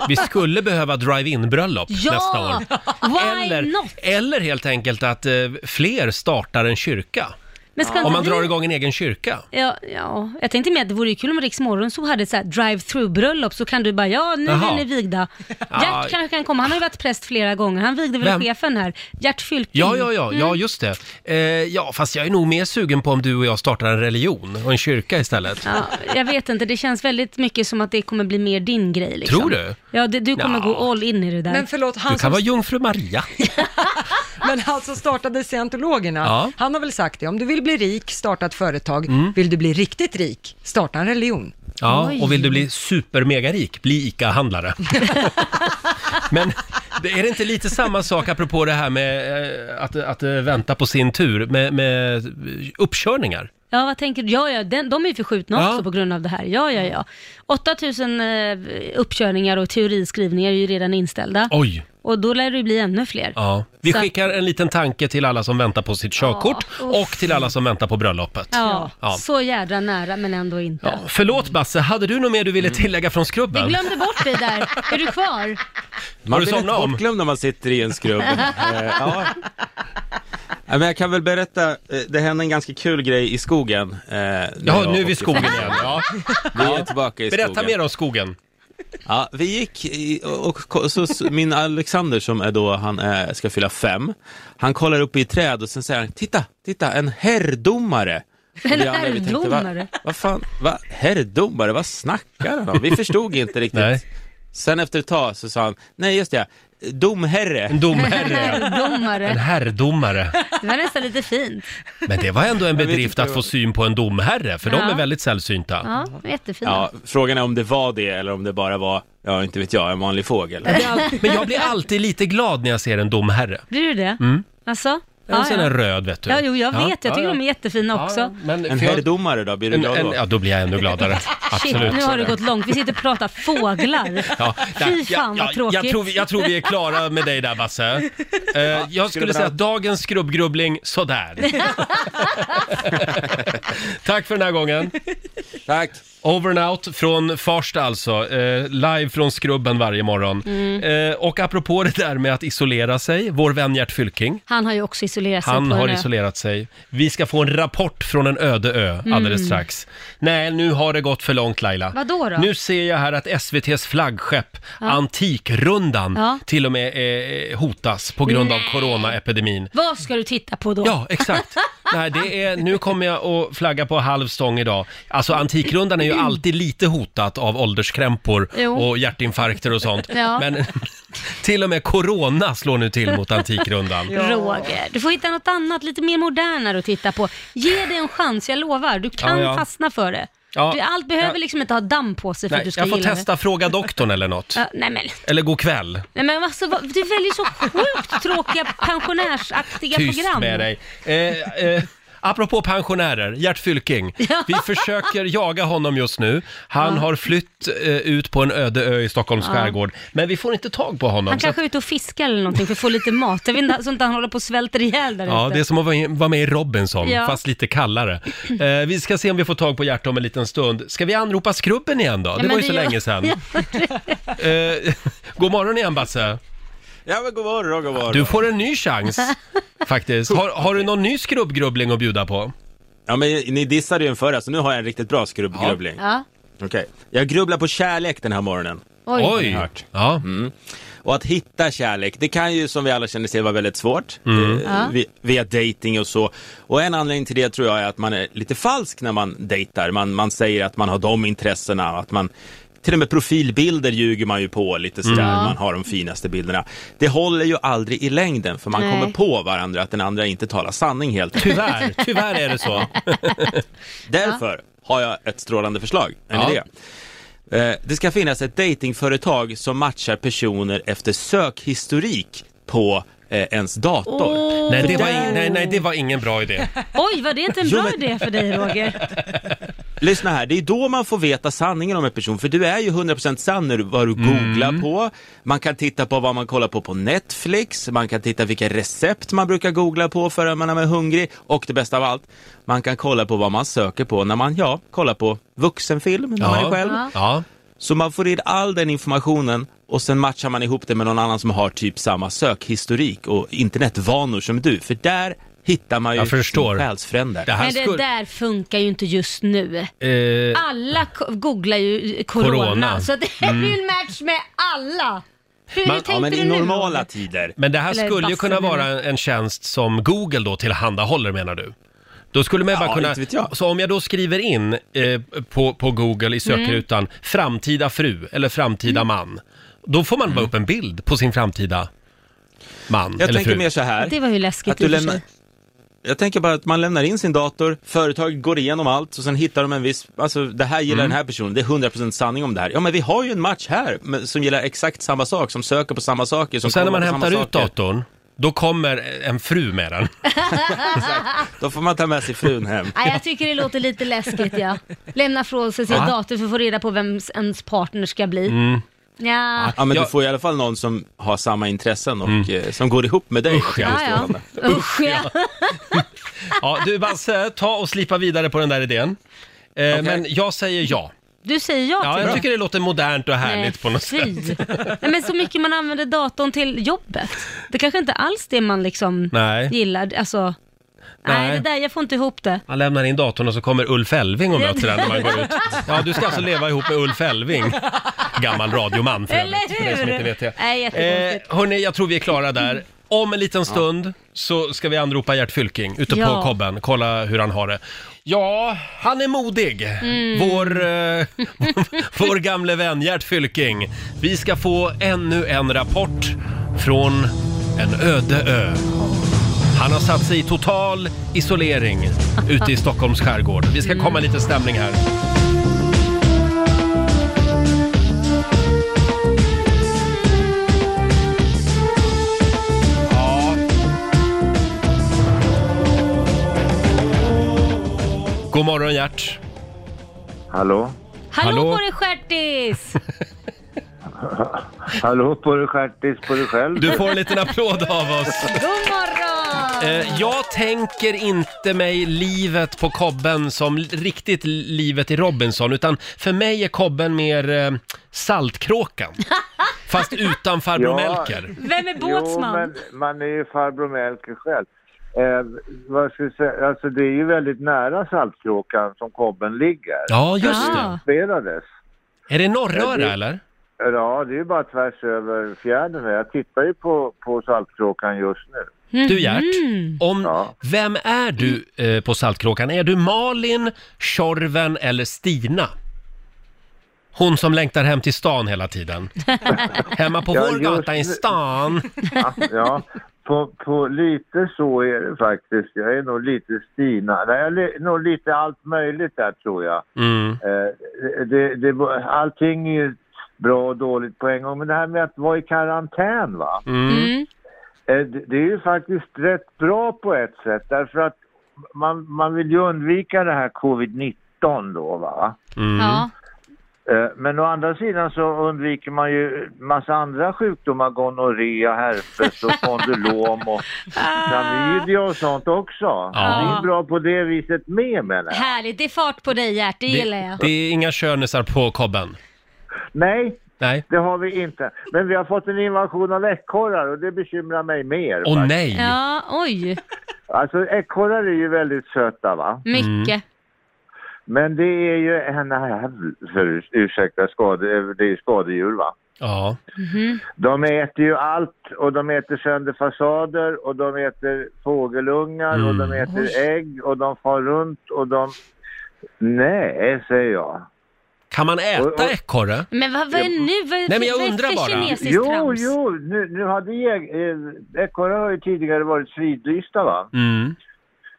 S1: Vi skulle behöva drive-in bröllop
S2: Ja!
S1: nästa år.
S2: Why
S1: Eller,
S2: not?
S1: eller helt enkelt att eh, fler startar en kyrka.
S2: Men ska
S1: Om
S2: inte
S1: man
S2: vi...
S1: drar igång en egen kyrka.
S2: Ja, ja, jag tänkte mer att det vore ju kul om Riks så hade ett så här drive-through-bröllop så kan du bara, ja nu
S1: Jaha.
S2: är ni vigda.
S1: Ja.
S2: Gert kanske kan komma, han har ju varit präst flera gånger, han vigde väl
S1: Vem?
S2: chefen här, Gert Fylking.
S1: Ja, ja, ja,
S2: Mm.
S1: ja just det. Eh, ja, fast jag är nog mer sugen på om du och jag startar en religion och en kyrka istället.
S2: Ja, jag vet inte, det känns väldigt mycket som att det kommer bli mer din grej. Liksom.
S1: Tror du?
S2: Ja, det, du kommer
S1: Ja.
S2: gå all in i det där.
S3: Men förlåt, han
S1: Du
S2: alltså-
S3: som
S1: kan vara jungfru Maria.
S3: Men han som startade scientologerna,
S1: Ja. Mm.
S3: han har väl sagt det, om du vill bli rik, starta ett företag. Vill du bli riktigt rik, starta en religion.
S1: Ja,
S2: Oj.
S1: och vill du bli supermegarik, bli ICA-handlare. Men det- är det inte lite samma sak apropå det här med eh, att, att eh, vänta på sin tur med, med uppkörningar?
S2: Ja, vad tänker du? Ja, ja, den, de är ju förskjutna
S1: Ja.
S2: också på grund av det här. Ja, ja, ja. 8000 eh, uppkörningar och teoriskrivningar är ju redan inställda.
S1: Oj!
S2: Och då lär det ju bli ännu fler.
S1: Ja. Vi
S2: Så-
S1: skickar en liten tanke till alla som väntar på sitt körkort
S2: uff.
S1: och till alla som väntar på bröllopet.
S2: Ja,
S1: Ja.
S2: så jädra nära men ändå inte.
S1: Ja, förlåt Basse, hade du något mer du ville
S7: Mm.
S1: tillägga från
S2: Vi
S1: Skrubben?
S2: glömde bort dig där. Är du kvar?
S1: Har
S7: Man
S1: du
S7: blir lätt
S1: somnat om?
S7: bortglömd när man sitter i en skrubb. Eh, ja. Nej, Men jag kan väl berätta, eh, det hände en ganska kul grej i skogen. eh, när
S1: Ja,
S7: jag
S1: nu är
S7: och
S1: vi i skogen
S7: Filip-
S1: igen. Ja.
S7: Vi är tillbaka i
S1: Berätta
S7: skogen.
S1: mer om skogen.
S7: Ja, vi gick i, och, och så, s- min Alexander som är då, han eh, ska fylla fem, han kollar upp i ett träd och sen säger han, titta, titta, en herrdomare. Och
S2: En
S7: vi andra, vi tänkte, "Va-
S2: herrdomare?"
S7: Vad fan, va, herrdomare, vad snackar han om? Vi förstod inte riktigt.
S1: Nej.
S7: Sen efter ett tag så sa han, nej just det, domherre.
S1: En domherre, en
S2: Domare.
S1: herrdomare.
S2: Det var nästan lite fint.
S1: Men det var ändå en
S7: vet
S1: bedrift
S7: inte
S1: att
S7: vad-
S1: få syn på en domherre, för de
S2: Ja.
S1: är väldigt sällsynta.
S2: Ja, jättefint.
S7: Ja, frågan är om det var det eller om det bara var, ja inte vet jag, en vanlig fågel.
S1: Jag blir all- Men jag blir alltid lite glad när jag ser en domherre.
S2: Blir du det? Mm. Alltså?
S1: En
S2: Ja,
S1: sån där
S2: ja.
S1: röd, vet du.
S2: ja, jo, jag vet. Jag tycker
S1: ja.
S2: de är jättefina också.
S1: Ja, ja. Men
S7: En
S1: för jag-
S7: herrdomare då, blir du
S1: en,
S7: glad
S1: en,
S7: då?
S1: ja, då blir jag ännu gladare.
S2: Shit,
S1: Absolut.
S2: nu har det gått långt. Vi sitter och pratar fåglar.
S1: Ja, där.
S2: Fy fan
S1: ja,
S2: vad
S1: ja,
S2: tråkigt.
S1: jag, tror vi, jag tror vi är klara med dig där Basse. Eh, jag skulle
S7: du
S1: säga
S7: bara-
S1: att dagens skrubbgrubbling, sådär. Tack för den här gången.
S7: Tack!
S1: Over and out från Farsta alltså, eh, live från Skrubben varje
S2: Mm.
S1: morgon. Eh, och apropå det där med att isolera sig, vår vän Gert Fylking,
S2: Han har ju också isolerar sig
S1: Han
S2: på
S1: har
S2: en ö.
S1: isolerat sig. Vi ska få en rapport från en öde ö alldeles strax. Nej, nu har det gått för långt Laila.
S2: Mm. Vadå då?
S1: Nu ser jag här att SVTs flaggskepp Antikrundan
S2: Ja.
S1: till och med eh, hotas på grund av coronaepidemin.
S2: Vad ska du titta på då?
S1: Ja, exakt. Nej, det är, nu kommer jag att flagga på halv stång idag. Alltså Antikrundan är ju alltid lite hotat av ålderskrämpor
S2: Jo.
S1: och hjärtinfarkter och sånt.
S2: Ja.
S1: Men till och med corona slår nu till mot Antikrundan.
S2: Roger, du får hitta något annat, lite mer modernare att titta på. Ge det en chans, jag lovar. Du kan
S1: Ja, ja.
S2: fastna för det.
S1: Ja.
S2: du, allt behöver
S1: Ja.
S2: liksom inte ha damm på sig för att
S1: Nej,
S2: du ska
S1: jag får
S2: gilla
S1: testa Fråga doktorn eller något.
S2: det. Ja, nej men,
S1: Eller god kväll.
S2: nej men alltså, vad, du väljer så sjukt tråkiga pensionärsaktiga
S1: Tyst
S2: program.
S1: med dig. Eh, eh, apropå pensionärer, Gert Fylking. Vi försöker jaga honom just nu. Han har flytt eh, ut på en öde ö i Stockholms skärgård. Men vi får inte tag på honom.
S2: Han
S1: så att-
S2: kanske är ute och fiskar eller någonting för att få lite mat. Jag vet inte, så inte han håller på och svälter ihjäl där
S1: Ja,
S2: ute.
S1: det är som att vara- vara med i Robinson,
S2: Ja.
S1: fast lite kallare. Eh, vi ska se om vi får tag på Gert om en liten stund. Ska vi anropa Skrubben igen då? det
S2: men
S1: var ju
S2: det
S1: så
S2: gör-
S1: länge sedan. eh, god morgon igen Basse.
S7: Ja men god morgon, god morgon.
S1: Du får en ny chans faktiskt. Har, har du någon ny skrubbgrubbling att bjuda på?
S7: Ja men ni dissade ju en förra så nu har jag en riktigt bra skrubbgrubbling.
S2: Ja.
S7: Okej. Jag grubblar på kärlek den här morgonen.
S2: Oj.
S7: hört. Mm.
S1: Ja.
S7: Och att hitta kärlek, det kan ju som vi alla känner till vara väldigt svårt. Eh, vi- Via dating och så. Och en anledning till det tror jag är att man är lite falsk när man dejtar. Man, man säger att man har de intressena, att man till och med profilbilder ljuger man ju på lite sådär, man har de finaste bilderna. Det håller ju aldrig i längden för man
S2: Nej.
S7: kommer på varandra att den andra inte talar sanning helt enkelt.
S1: Tyvärr, tyvärr är det så.
S7: Därför har jag ett strålande förslag, en
S1: Ja.
S7: idé. Eh, Det ska finnas ett datingföretag som matchar personer efter sökhistorik på eh, ens dator.
S2: Åh.
S1: Nej det, var in, nej, nej, det var ingen bra idé.
S2: Oj, var det inte en
S7: Jo,
S2: bra
S7: men-
S2: idé för dig Roger?
S7: Lyssna här, det är då man får veta sanningen om en person, för du är ju 100% sann när du, vad du googlar
S1: Mm.
S7: på. Man kan titta på vad man kollar på på Netflix, man kan titta vilka recept man brukar googla på för att man är hungrig och det bästa av allt, man kan kolla på vad man söker på när man, ja, kollar på vuxenfilm när man är själv.
S1: Ja.
S7: Så man får in all den informationen och sen matchar man ihop det med någon annan som har typ samma sökhistorik och internetvanor som du. För där hittar man ju
S1: Jag förstår.
S7: sin själsfrände.
S1: Det här
S2: Men det
S1: skulle...
S2: där funkar ju inte just nu.
S1: Eh,
S2: Alla ko- googlar ju corona,
S1: Corona. Mm.
S2: så det är ju en match med alla. Hur, hur
S1: Man- ja,
S2: tänkte
S7: Ja, men
S2: du
S7: i
S2: nu?
S7: normala tider.
S1: men det här
S2: Eller
S1: skulle ju
S2: bassen
S1: kunna
S2: eller-
S1: vara en, en tjänst som Google då tillhandahåller menar du? Då skulle man ju bara
S7: Ja,
S1: kunna...
S7: inte vet jag.
S1: Så om jag då skriver in eh, på, på Google i
S2: Mm.
S1: sökrutan framtida fru eller framtida man. Då får man bara upp en bild på sin framtida man
S7: Mm. Jag
S1: eller
S7: tänker
S1: fru.
S7: mer så här.
S2: Det var ju läskigt
S7: Att du
S2: i och för
S7: lämnar-
S2: sig.
S7: Jag tänker bara att man lämnar in sin dator, företag går igenom allt och sen hittar de en viss, alltså det här
S1: Mm.
S7: gillar den här personen, det är 100% sanning om det här. Ja men vi har ju en match här med, som gillar exakt samma sak, som söker på samma saker, som
S1: Och sen när
S7: kollar
S1: man
S7: på
S1: hämtar
S7: samma
S1: ut
S7: saker.
S1: datorn, då kommer en fru med den.
S7: Då får man ta med sig frun hem.
S2: Nej, jag tycker det låter lite läskigt ja. Lämna från sig sin
S1: Ja.
S2: dator för att få reda på vem ens partner ska bli.
S1: Mm.
S2: Ja.
S7: Ja men
S1: Jag- Mm.
S7: du får i alla fall någon som har samma intressen och eh, som går ihop med dig.
S1: Usch, ja.
S7: Det är
S2: Ja,
S7: strålande.
S2: ja. Usch ja.
S1: Ja, du Basse, ta och slipa vidare på den där idén. Eh, Men jag säger ja.
S2: Du säger ja
S1: Ja,
S2: till
S1: jag
S2: det.
S1: tycker det låter modernt och härligt
S2: Nej,
S1: på något sätt.
S2: fy. Nej, men så mycket man använder datorn till jobbet. Det kanske inte alls det man liksom
S1: Nej.
S2: gillar. Alltså, nej.
S1: Nej.
S2: det där, jag får inte ihop det.
S1: Man lämnar in datorn och så kommer Ulf Elving och möter den när man går ut. Ja, du ska alltså leva ihop med Ulf Elving. Gammal radioman för
S2: Eller
S1: övrigt, för det som
S2: hur?
S1: inte vet det.
S2: Nej, jättekonstigt.
S1: eh, Hörni, jag tror vi är klara där. Om en liten stund så ska vi anropa Gert Fylking ute på
S2: Ja.
S1: kobben. Kolla hur han har det. Ja, han är modig. Vår, eh, vår gamle vän Gert Fylking. Vi ska få ännu en rapport från en öde ö. Han har satt sig i total isolering ute i Stockholms skärgård. Vi ska komma lite stämning här. Ja. God morgon Gert!
S8: Hallå?
S2: Hallå,
S1: Eh, Hallå?
S2: på dig stjärtis!
S8: Hallå på dig stjärtis på dig själv.
S1: Du får en liten applåd av oss.
S2: God morgon!
S1: Eh, jag tänker inte mig livet på kobben som l- riktigt livet i Robinson, utan för mig är kobben mer eh, saltkråkan. Fast utan farbror
S8: Ja.
S1: Melker.
S2: Vem är
S8: Jo,
S2: båtsman?
S8: men man är ju farbror Melker själv. Eh, vad ska jag säga? Alltså det är ju väldigt nära Saltkråkan som kobben ligger.
S1: Ja, just
S2: Ja.
S1: det.
S8: Spelades.
S1: Är det Norröra
S8: Ja, det-
S1: eller?
S8: Ja, det är ju bara tvärs över fjärden här. Jag tittar ju på, på Saltkråkan just nu.
S1: Du
S2: Mhm.
S1: Gert, om,
S8: Ja.
S1: vem är du eh, på Saltkråkan? Är du Malin, Tjorven eller Stina? Hon som längtar hem till stan hela tiden. Hemma på
S8: Ja,
S1: vår
S8: just
S1: gata i
S8: nu.
S1: stan.
S8: Ja, på, på lite så är det faktiskt. Jag är nog lite Stina. Nej, jag är li- nog lite allt möjligt där tror jag.
S1: Mm.
S8: Eh, det, det, allting är ju bra och dåligt på en gång, men det här med att vara i karantän va.
S2: Mm.
S8: Eh, det, det är ju faktiskt rätt bra på ett sätt därför att man, man vill ju undvika det här covid-19 då va.
S1: mm.
S2: Ja.
S8: Eh, Men å andra sidan så undviker man ju massa andra sjukdomar, gonorré, herpes och kondylom och klamydia och sånt också. Det är bra på det viset med menar jag.
S2: Härligt, det är fart på dig Gert, det gillar
S1: Det,
S2: jag.
S1: det är inga könisar på kobben.
S8: Nej,
S1: Nej.
S8: det har vi inte. Men vi har fått en invasion av ekorrar och det bekymrar mig mer.
S1: Åh
S8: faktiskt.
S1: nej!
S2: Ja, oj,
S8: Alltså ekorrar är ju väldigt söta va.
S1: Mm.
S2: mycket.
S8: Men det är ju en, för, ursäkta, skade, det är ju skadedjur va.
S1: Ja.
S8: De äter ju allt och de äter sönder fasader och de äter fågelungar och de äter ägg och de far runt och de... Nej, säger jag.
S1: Kan man
S8: Och- och-
S1: äta ekorre?
S2: Men vad, vad är nu, vad,
S1: Nej, men jag
S2: vad är
S1: undrar
S2: för
S1: bara.
S2: kinesiskt
S8: Jo,
S2: trams?
S8: jo, nu, nu hade jäg... eh, Ekorrar har ju tidigare varit fridlysta va?
S1: Mm.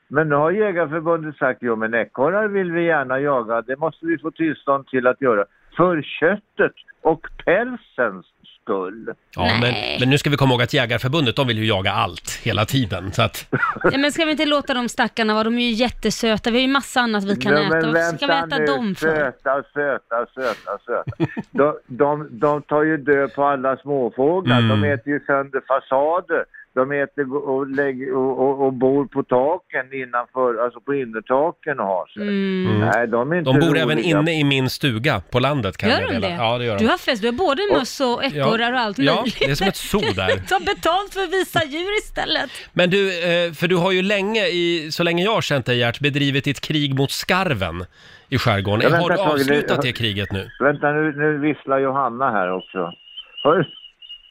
S8: Men nu har Jägarförbundet sagt jo men ekorrar vill vi gärna jaga, det måste vi få tillstånd till att göra. För köttet och pälsens skull.
S1: Ja, men,
S2: Nej.
S1: men nu ska vi komma ihåg att Jägarförbundet, de vill ju jaga allt hela tiden. Så att,
S2: Ja, men ska vi inte låta de stackarna vara, de är ju jättesöta, vi har ju massa annat vi kan
S8: Nej, men
S2: äta. Varför ska vi
S8: vänta
S2: äta
S8: nu.
S2: dem för?
S8: Söta, söta, söta, söta. De, de, de tar ju död på alla småfåglar.
S1: Mm.
S8: De äter ju sönder fasader. De äter go- och, lägger, och, och, och bor på taken innanför, alltså på innertaken och har sig.
S2: Mm.
S8: Nej, de är inte
S1: de bor
S8: roliga.
S1: även inne i min stuga på landet kan jag
S2: Gör de
S1: meddela.
S2: det?
S1: Ja, det gör de.
S2: Du har fest, du har både möss och ekorrar och allt
S1: Ja,
S2: möjligt.
S1: det är som ett zoo där.
S2: Ta betalt för att visa djur istället.
S1: Men du, eh, för du har ju länge, i, så länge jag har känt dig Gert, bedrivit ditt krig mot skarven i skärgården.
S8: Ja,
S1: har
S8: vänta
S1: du
S8: ett tag,
S1: avslutat
S8: det-
S1: det kriget nu?
S8: Vänta nu, nu visslar Johanna här också. Hör,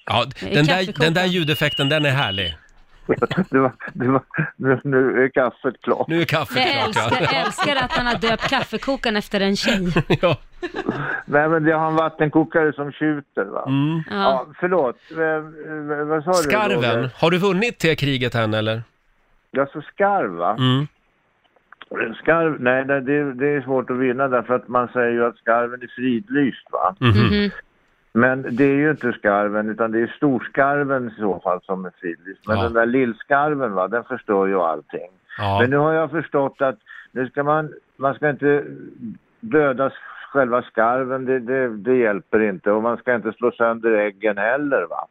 S1: Ja,
S2: är
S1: den där,
S2: kaffekokan.
S1: den där ljudeffekten, den är härlig.
S8: det var, det var, nu, nu är kaffet klart.
S1: Nu är kaffet
S2: Jag
S1: klart
S2: älskar,
S1: ja.
S2: älskar att han har döpt kaffekokaren efter en tjej.
S1: ja.
S8: Nej, men det har en vattenkokare som tjuter va.
S1: Mm.
S2: Ja.
S8: Ja, förlåt, eh, eh, vad sa du?
S1: Skarven,
S8: Roger?
S1: har du vunnit det kriget än eller?
S8: Ja, så skarv va?
S1: Mm.
S8: Skarv, nej det, det, det är svårt att vinna därför att man säger ju att skarven är fridlyst va.
S2: Mhm.
S8: Men det är ju inte skarven utan det är storskarven i så fall som är fridlyst. Men
S1: Ja.
S8: den där lillskarven va, den förstör ju allting.
S1: Ja.
S8: Men nu har jag förstått att nu ska man, man ska inte döda själva skarven, det, det, det hjälper inte. Och man ska inte slå sönder äggen heller va.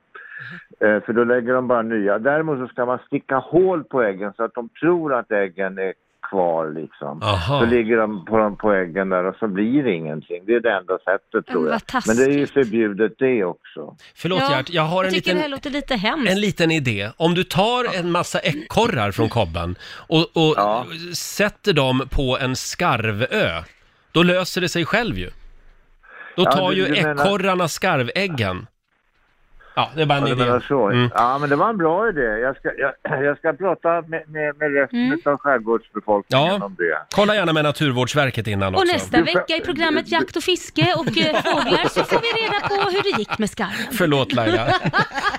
S8: Eh, För då lägger de bara nya. Däremot så ska man sticka hål på äggen så att de tror att äggen är kvar liksom. Så
S1: Aha.
S8: ligger de på, de på äggen där och så blir det ingenting. Det är det enda sättet tror
S2: vad
S8: jag. Men det är ju
S2: taskigt.
S8: förbjudet det också.
S1: Förlåt
S2: Ja,
S1: Gert, jag har en
S2: tycker det här
S1: liten,
S2: låter lite hemskt.
S1: en liten idé. Om du tar en massa ekorrar från kobben och, och
S8: Ja.
S1: sätter dem på en skarvö, då löser det sig själv ju. Då
S8: Ja,
S1: tar
S8: du-
S1: ju
S8: du menar-
S1: ekorrarna skarväggen. Ja, det är bara en
S8: Ja, du menar
S1: idé.
S8: så.
S1: Mm.
S8: Ja, men det var en bra idé. Jag ska, jag, jag ska prata med, med, med resten av skärgårdsbefolkningen
S1: Ja.
S8: om det.
S1: Kolla gärna med Naturvårdsverket innan
S2: Och
S1: också.
S2: nästa vecka i programmet Jakt och fiske och eh, fåglar så får vi reda på hur det gick med skarven.
S1: Förlåt Laila.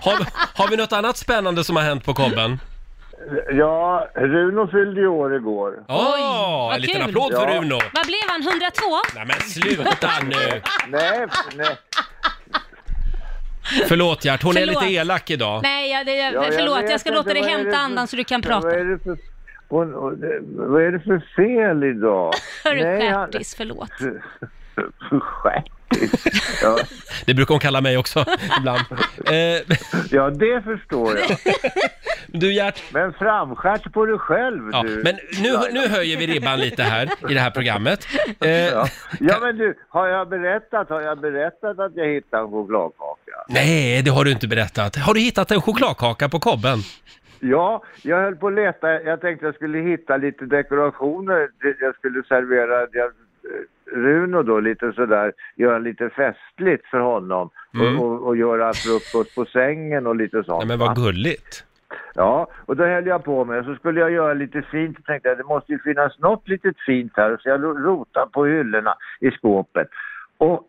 S1: Har, vi- har vi något annat spännande som har hänt på kobben?
S8: Ja, Runo fyllde ju år igår.
S1: Ja,
S2: vad
S1: en liten
S2: kul.
S1: applåd för
S8: Ja.
S1: Runo.
S2: Vad blev han, 102?
S1: Nej men sluta nu!
S8: Nej, nej.
S1: Förlåt Gert, hon är
S2: Förlåt.
S1: lite elak idag.
S2: Nej, jag, det, jag,
S8: Ja, jag
S2: förlåt, jag,
S8: vet
S2: ska låta
S8: inte,
S2: dig
S8: vad är
S2: hämta
S8: det-
S2: andan så du kan
S8: Vad
S2: prata.
S8: är det för, hon, hon- vad är det för fel idag?
S2: Hörru,
S8: han-
S2: stjärtis, förlåt.
S8: Stjärtis. Ja,
S1: Det brukar hon kalla mig också ibland. Eh,
S8: ja, det förstår jag.
S1: du Gert,
S8: Men framstjärt på dig själv
S1: ja,
S8: du.
S1: men eh, nu, nu höjer vi ribban lite här i det här programmet. Eh,
S8: Ja. ja men du, har jag berättat, har jag berättat att jag hittade en chokladkaka?
S1: Nej, det har du inte berättat. Har du hittat en chokladkaka på kobben?
S8: Ja, jag höll på att leta. Jag tänkte jag skulle hitta lite dekorationer. Det- Jag skulle servera jag, eh, Runo då lite sådär, göra lite festligt för honom. Och, och, och göra frukost på sängen och lite sånt.
S1: Mm. Nej, men
S8: va?
S1: vad gulligt.
S8: Ja, och då höll jag på med. Så skulle jag göra lite fint. och tänkte jag, det måste ju finnas något litet fint här. Så jag lo- rotade på hyllorna i skåpet. Och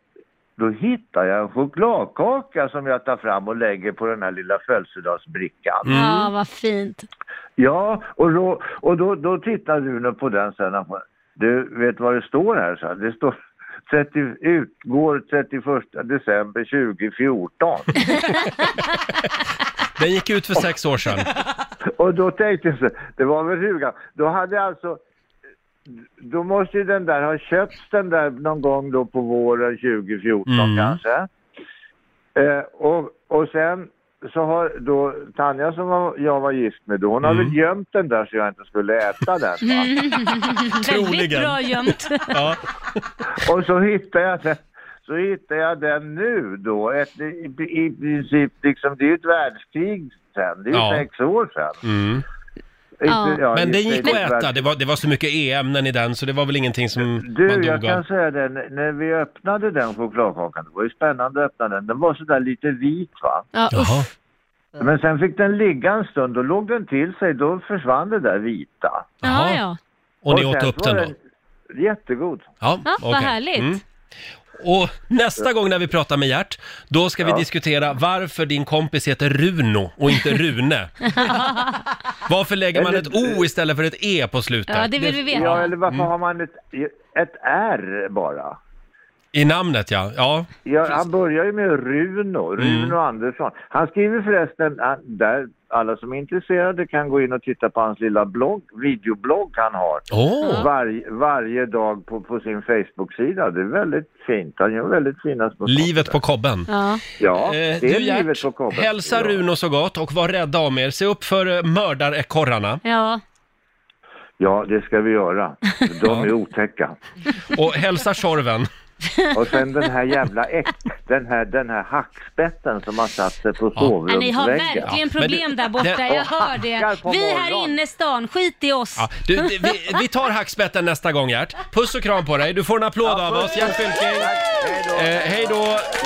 S8: då hittar jag en chokladkaka som jag tar fram och lägger på den här lilla födelsedagsbrickan.
S1: Mm.
S2: Ja, vad fint.
S8: Ja, och då, och då, då tittar Rune på den sen. Han bara, Du, vet vad det står här? Så här det står 30, utgår 31 december 2014.
S1: Den gick ut för sex år sedan.
S8: och då tänkte jag så här, det var väl rugan. Då hade alltså, då måste ju den där ha köpts den där någon gång då på våren 2014
S1: Mm.
S8: kanske. Eh, och, och sen så har då Tanja som var, jag var gift med då, hon har
S1: Mm.
S8: väl gömt den där så jag inte skulle äta den. Va?
S2: Väldigt
S1: Troligen.
S2: bra gömt.
S1: Ja.
S8: Och så hittar jag den, så hittar jag den nu då. Ett, i, I princip, liksom, det är ju ett världskrig sen. Det är ju
S1: Ja.
S8: sex år sen.
S1: Mm.
S2: Ja.
S1: Men den
S8: just
S1: gick
S8: det,
S1: att
S8: det är
S1: äta. Det var, det var så mycket e-ämnen i den så det var väl ingenting som man
S8: Du, jag
S1: dog
S8: kan
S1: av.
S8: säga det, när när vi öppnade den chokladkakan, det var ju spännande att öppna den. Den var sådär lite vit va.
S2: Ja,
S1: Jaha.
S2: uff.
S8: Men sen fick den ligga en stund, då låg den till sig, då försvann det där vita.
S2: Jaha,
S1: Jaha.
S2: ja.
S1: Och ni
S8: sen
S1: åt
S8: så
S1: upp
S8: var
S1: den då?
S8: Jättegod.
S1: Ja,
S2: Ja, vad
S1: okej. Mm.
S2: härligt.
S1: Och nästa gång när vi pratar med Gert, då ska vi diskutera varför din kompis heter Runo och inte Rune. varför lägger man ett O istället för ett E på slutet?
S2: Ja, det vill vi
S8: Ja,
S2: veta.
S8: eller varför
S1: Mm.
S8: har man ett, ett R bara?
S1: I namnet ja. ja.
S8: Ja, han börjar ju med Runo, Runo
S1: Mm.
S8: Andersson. Han skriver förresten, han- där alla som är intresserade kan gå in och titta på hans lilla blogg, videoblogg han har.
S1: Åh,
S8: Varje, varje dag på, på sin Facebook-sida. Det är väldigt fint. Han gör väldigt fina små
S1: livet på
S8: saker.
S1: kobben.
S2: Ja.
S8: Ja,
S1: Eh,
S8: det är
S1: du Gert,
S8: livet på kobben.
S1: hälsa Runo så gott och var rädda om er. Se upp för eh, mördarekorrarna.
S2: ja.
S8: Ja, det ska vi göra. De är otäcka.
S1: Och hälsa Tjorven.
S8: Och sen den här jävla äck, den här, den här hackspetten som har satt sig på
S2: Ja,
S8: sovrumsväggen.
S2: ni har verkligen
S1: Ja, men du-
S2: problem där borta,
S1: det-
S2: jag hör det.
S8: hackar på
S2: Vi här
S8: morgonen.
S2: inne i stan, skit i oss.
S1: Ja, du, du, vi, vi tar hackspetten nästa gång Gert. Puss och kram på dig. Du får en applåd av oss, Gert Fylking.
S8: Hej då.
S1: Eh, hej då!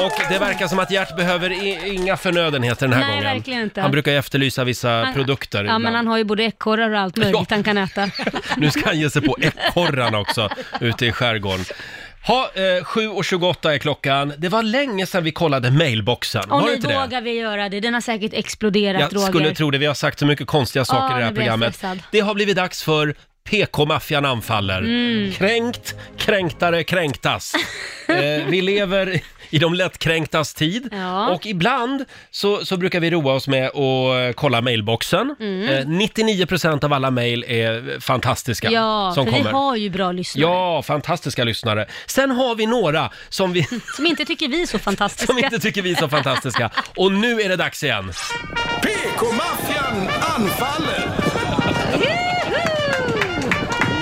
S1: Och det verkar som att Gert behöver i, inga förnödenheter den här
S2: Nej,
S1: gången.
S2: verkligen inte.
S1: Han brukar ju efterlysa vissa produkter.
S2: Ja, men
S1: ibland.
S2: han har ju både ekorrar och allt möjligt
S1: Ja.
S2: han kan äta.
S1: Nu ska han ge sig på ekorrarna också ute i skärgården. Ha, eh, 7.28 är klockan. Det var länge sedan vi kollade mailboxen.
S2: Och
S1: var det
S2: nu
S1: inte det?
S2: vågar vi göra det, den har säkert exploderat
S1: Jag
S2: Roger.
S1: skulle tro det. Vi har sagt så mycket konstiga saker
S2: Ja,
S1: i det här
S2: nu blir jag
S1: programmet.
S2: stressad.
S1: Det har blivit dags för PK-maffian anfaller.
S2: Mm.
S1: Kränkt, kränktare, kränktas. eh, vi lever i de lättkränktas tid
S2: Ja.
S1: och ibland så, så brukar vi roa oss med att eh, kolla mailboxen.
S2: Mm.
S1: Eh, 99% av alla mejl är fantastiska
S2: Ja,
S1: som
S2: för
S1: kommer.
S2: vi har ju bra lyssnare
S1: Ja, fantastiska lyssnare. Sen har vi några som vi,
S2: som inte tycker vi är så fantastiska.
S1: som inte tycker vi är så fantastiska. Och nu är det dags igen.
S4: PK-maffian anfaller!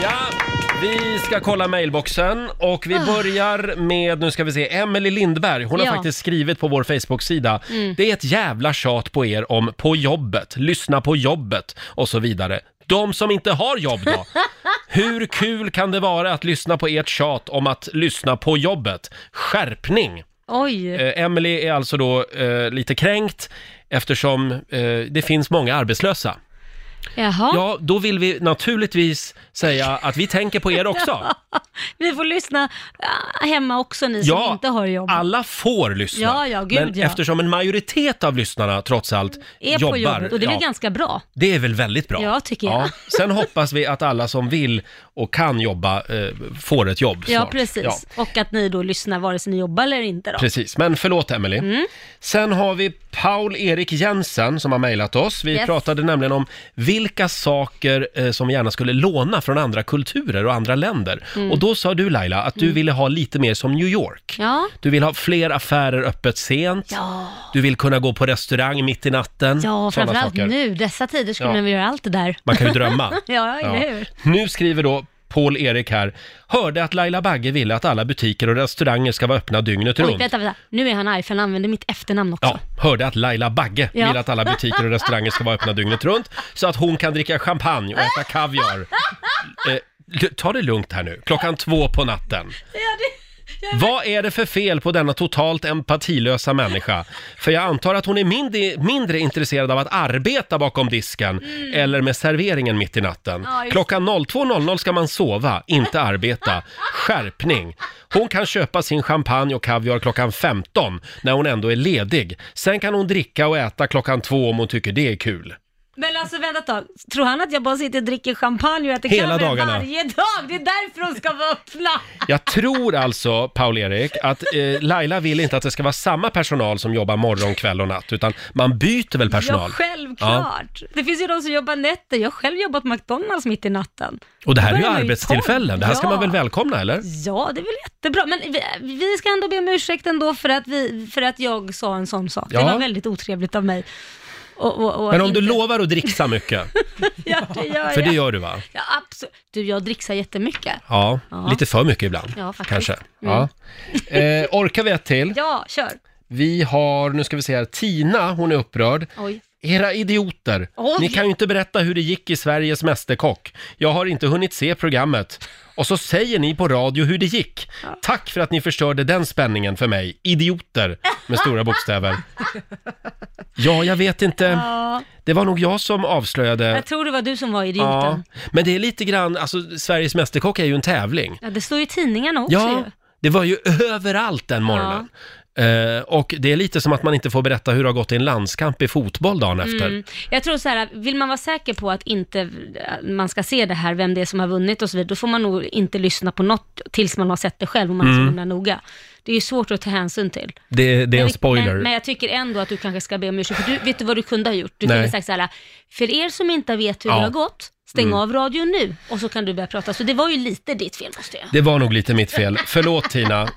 S1: Ja, vi ska kolla mailboxen och vi börjar med, nu ska vi se, Emelie Lindberg. Hon har
S2: Ja.
S1: faktiskt skrivit på vår Facebook-sida. Det är ett jävla tjat på er om på jobbet, lyssna på jobbet och så vidare. De som inte har jobb då? Hur kul kan det vara att lyssna på ert tjat om att lyssna på jobbet? Skärpning!
S2: Oj,
S1: Eh, Emily är alltså då eh, lite kränkt eftersom eh, det finns många arbetslösa.
S2: jaha.
S1: Ja, då vill vi naturligtvis säga att vi tänker på er också.
S2: Vi får lyssna ah, hemma också ni som inte har jobb.
S1: alla får lyssna.
S2: Ja, ja, gud,
S1: men
S2: ja. Mm,
S1: eftersom en majoritet av lyssnarna trots allt
S2: är
S1: jobbar.
S2: på jobbet och det är
S1: ja,
S2: väl ganska bra.
S1: det är väl väldigt bra.
S2: Ja, tycker jag.
S1: Sen hoppas vi att alla som vill och kan jobba eh, får ett jobb
S2: Ja,
S1: snart.
S2: precis.
S1: Ja,
S2: Och att ni då lyssnar vare sig ni jobbar eller inte då.
S1: precis. Men förlåt Emily.
S2: Mm.
S1: Sen har vi Paul-Erik Jensen som har mejlat oss. Vi
S2: Yes.
S1: pratade nämligen om vilka saker eh, som vi gärna skulle låna från andra kulturer och andra länder. Och då sa du Laila att du ville ha lite mer som New York.
S2: Mm. Ja.
S1: Du vill ha fler affärer öppet sent.
S2: Ja.
S1: Du vill kunna gå på restaurang mitt i natten.
S2: Ja,
S1: Sådana
S2: framförallt
S1: saker.
S2: nu. Dessa tider skulle
S1: Ja.
S2: man vilja göra allt det där.
S1: Man kan ju drömma.
S2: Ja, eller hur?
S1: Nu skriver då Paul-Erik här, hörde att Laila Bagge ville att alla butiker och restauranger ska vara öppna dygnet
S2: Oj,
S1: runt.
S2: vänta, vänta. Nu är han arg för han använder mitt efternamn också.
S1: Ja, hörde att Laila Bagge
S2: Ja.
S1: vill att alla butiker och restauranger ska vara öppna dygnet runt så att hon kan dricka champagne och äta kaviar. Eh, l- ta det lugnt här nu, klockan två på natten. Vad är det för fel på denna totalt empatilösa människa? För jag antar att hon är mindre, mindre intresserad av att arbeta bakom disken eller med serveringen mitt i natten.
S2: Mm. Ja, just-
S1: Klockan 02.00 ska man sova, inte arbeta. Skärpning! Hon kan köpa sin champagne och kaviar klockan 15 när hon ändå är ledig. Sen kan hon dricka och äta klockan två om hon tycker det är kul.
S2: Men alltså vänta ett tag. Tror han att jag bara sitter och dricker champagne och äter
S1: Hela
S2: kaffe
S1: dagarna.
S2: varje dag? Det är därför de ska vara öppna.
S1: Jag tror alltså, Paul-Erik, att eh, Laila vill inte att det ska vara samma personal som jobbar morgon, kväll och natt, utan man byter väl personal?
S2: Ja, självklart. Det finns ju de som jobbar nätter. Jag har själv jobbat på McDonalds mitt i natten.
S1: Och det här är ju
S2: Då börjar man
S1: arbetstillfällen, det här ska
S2: tolv.
S1: man väl
S2: Ja.
S1: välkomna eller?
S2: Ja, det är väl jättebra. Men vi, vi ska ändå be om ursäkt ändå för att, vi, för att jag sa en sån sak.
S1: Ja.
S2: Det var väldigt otrevligt av mig. Och, och, och
S1: Men om du
S2: inte-
S1: lovar att dricksa mycket,
S2: Ja, det gör
S1: för det
S2: jag.
S1: gör du va?
S2: Ja, absolut. Du, jag dricksar jättemycket.
S1: Ja,
S2: Ja.
S1: lite för mycket ibland
S2: Ja, faktiskt. Mm.
S1: kanske. Ja. Eh, orkar vi ett till?
S2: Ja, kör.
S1: Vi har, nu ska vi se här, Tina, hon är upprörd.
S2: Oj.
S1: Era idioter!
S2: Oj.
S1: Ni kan ju inte berätta hur det gick i Sveriges Mästerkock. Jag har inte hunnit se programmet. Och så säger ni på radio hur det gick. Tack för att ni förstörde den spänningen för mig. Idioter! Med stora bokstäver. Ja, jag vet inte.
S2: Ja,
S1: Det var nog jag som avslöjade.
S2: jag tror det var du som var idioten.
S1: Ja,
S2: Ja.
S1: men det är lite grann, alltså Sveriges Mästerkock är ju en tävling.
S2: det står ju i tidningarna också
S1: Ja,
S2: ju.
S1: det var ju överallt den morgonen. Eh, och det är lite som att man inte får berätta hur det har gått i en landskamp i fotboll dagen efter.
S2: Mm. Jag tror så här, vill man vara säker på att inte att man ska se det här, vem det är som har vunnit och så vidare, då får man nog inte lyssna på något tills man har sett det själv, om man är så himla noga. Det är ju svårt att ta hänsyn till.
S1: Det, Mm. det är en spoiler.
S2: Men, men jag tycker ändå att du kanske ska be om ursäkt, för du, vet du vad du kunde ha gjort? Du
S1: Nej.
S2: kunde ha sagt så här, för er som inte vet hur
S1: Ja. Mm.
S2: det har gått, stäng av radion nu och så kan du börja prata. Så det var ju lite ditt fel måste jag.
S1: Det var nog lite mitt fel. Förlåt Tina. Eh,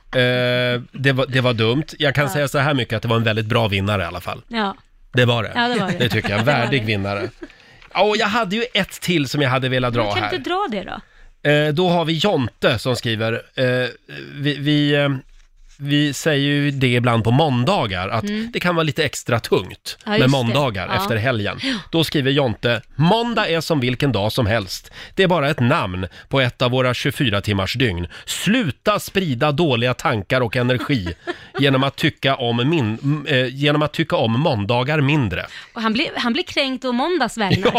S1: det, var, det var dumt. Jag kan säga så här mycket att det var en väldigt bra vinnare i alla fall.
S2: Ja.
S1: Det var det.
S2: Ja, det var det.
S1: tycker jag. En värdig vinnare. Ja, Och jag hade ju ett till som jag hade velat
S2: Men
S1: dra
S2: kan du
S1: här.
S2: inte dra det då?
S1: Eh, då har vi Jonte som skriver, eh, vi, vi, eh, vi säger ju det ibland på måndagar, att det kan vara lite extra tungt
S2: Mm. Ja,
S1: med
S2: just det.
S1: måndagar
S2: Ja.
S1: efter helgen. Då skriver Jonte, måndag är som vilken dag som helst. Det är bara ett namn på ett av våra 24 timmars dygn. Sluta sprida dåliga tankar och energi genom att tycka om, min, m- eh, genom att tycka om måndagar mindre.
S2: Och han blir, han blir kränkt och måndags vägnar.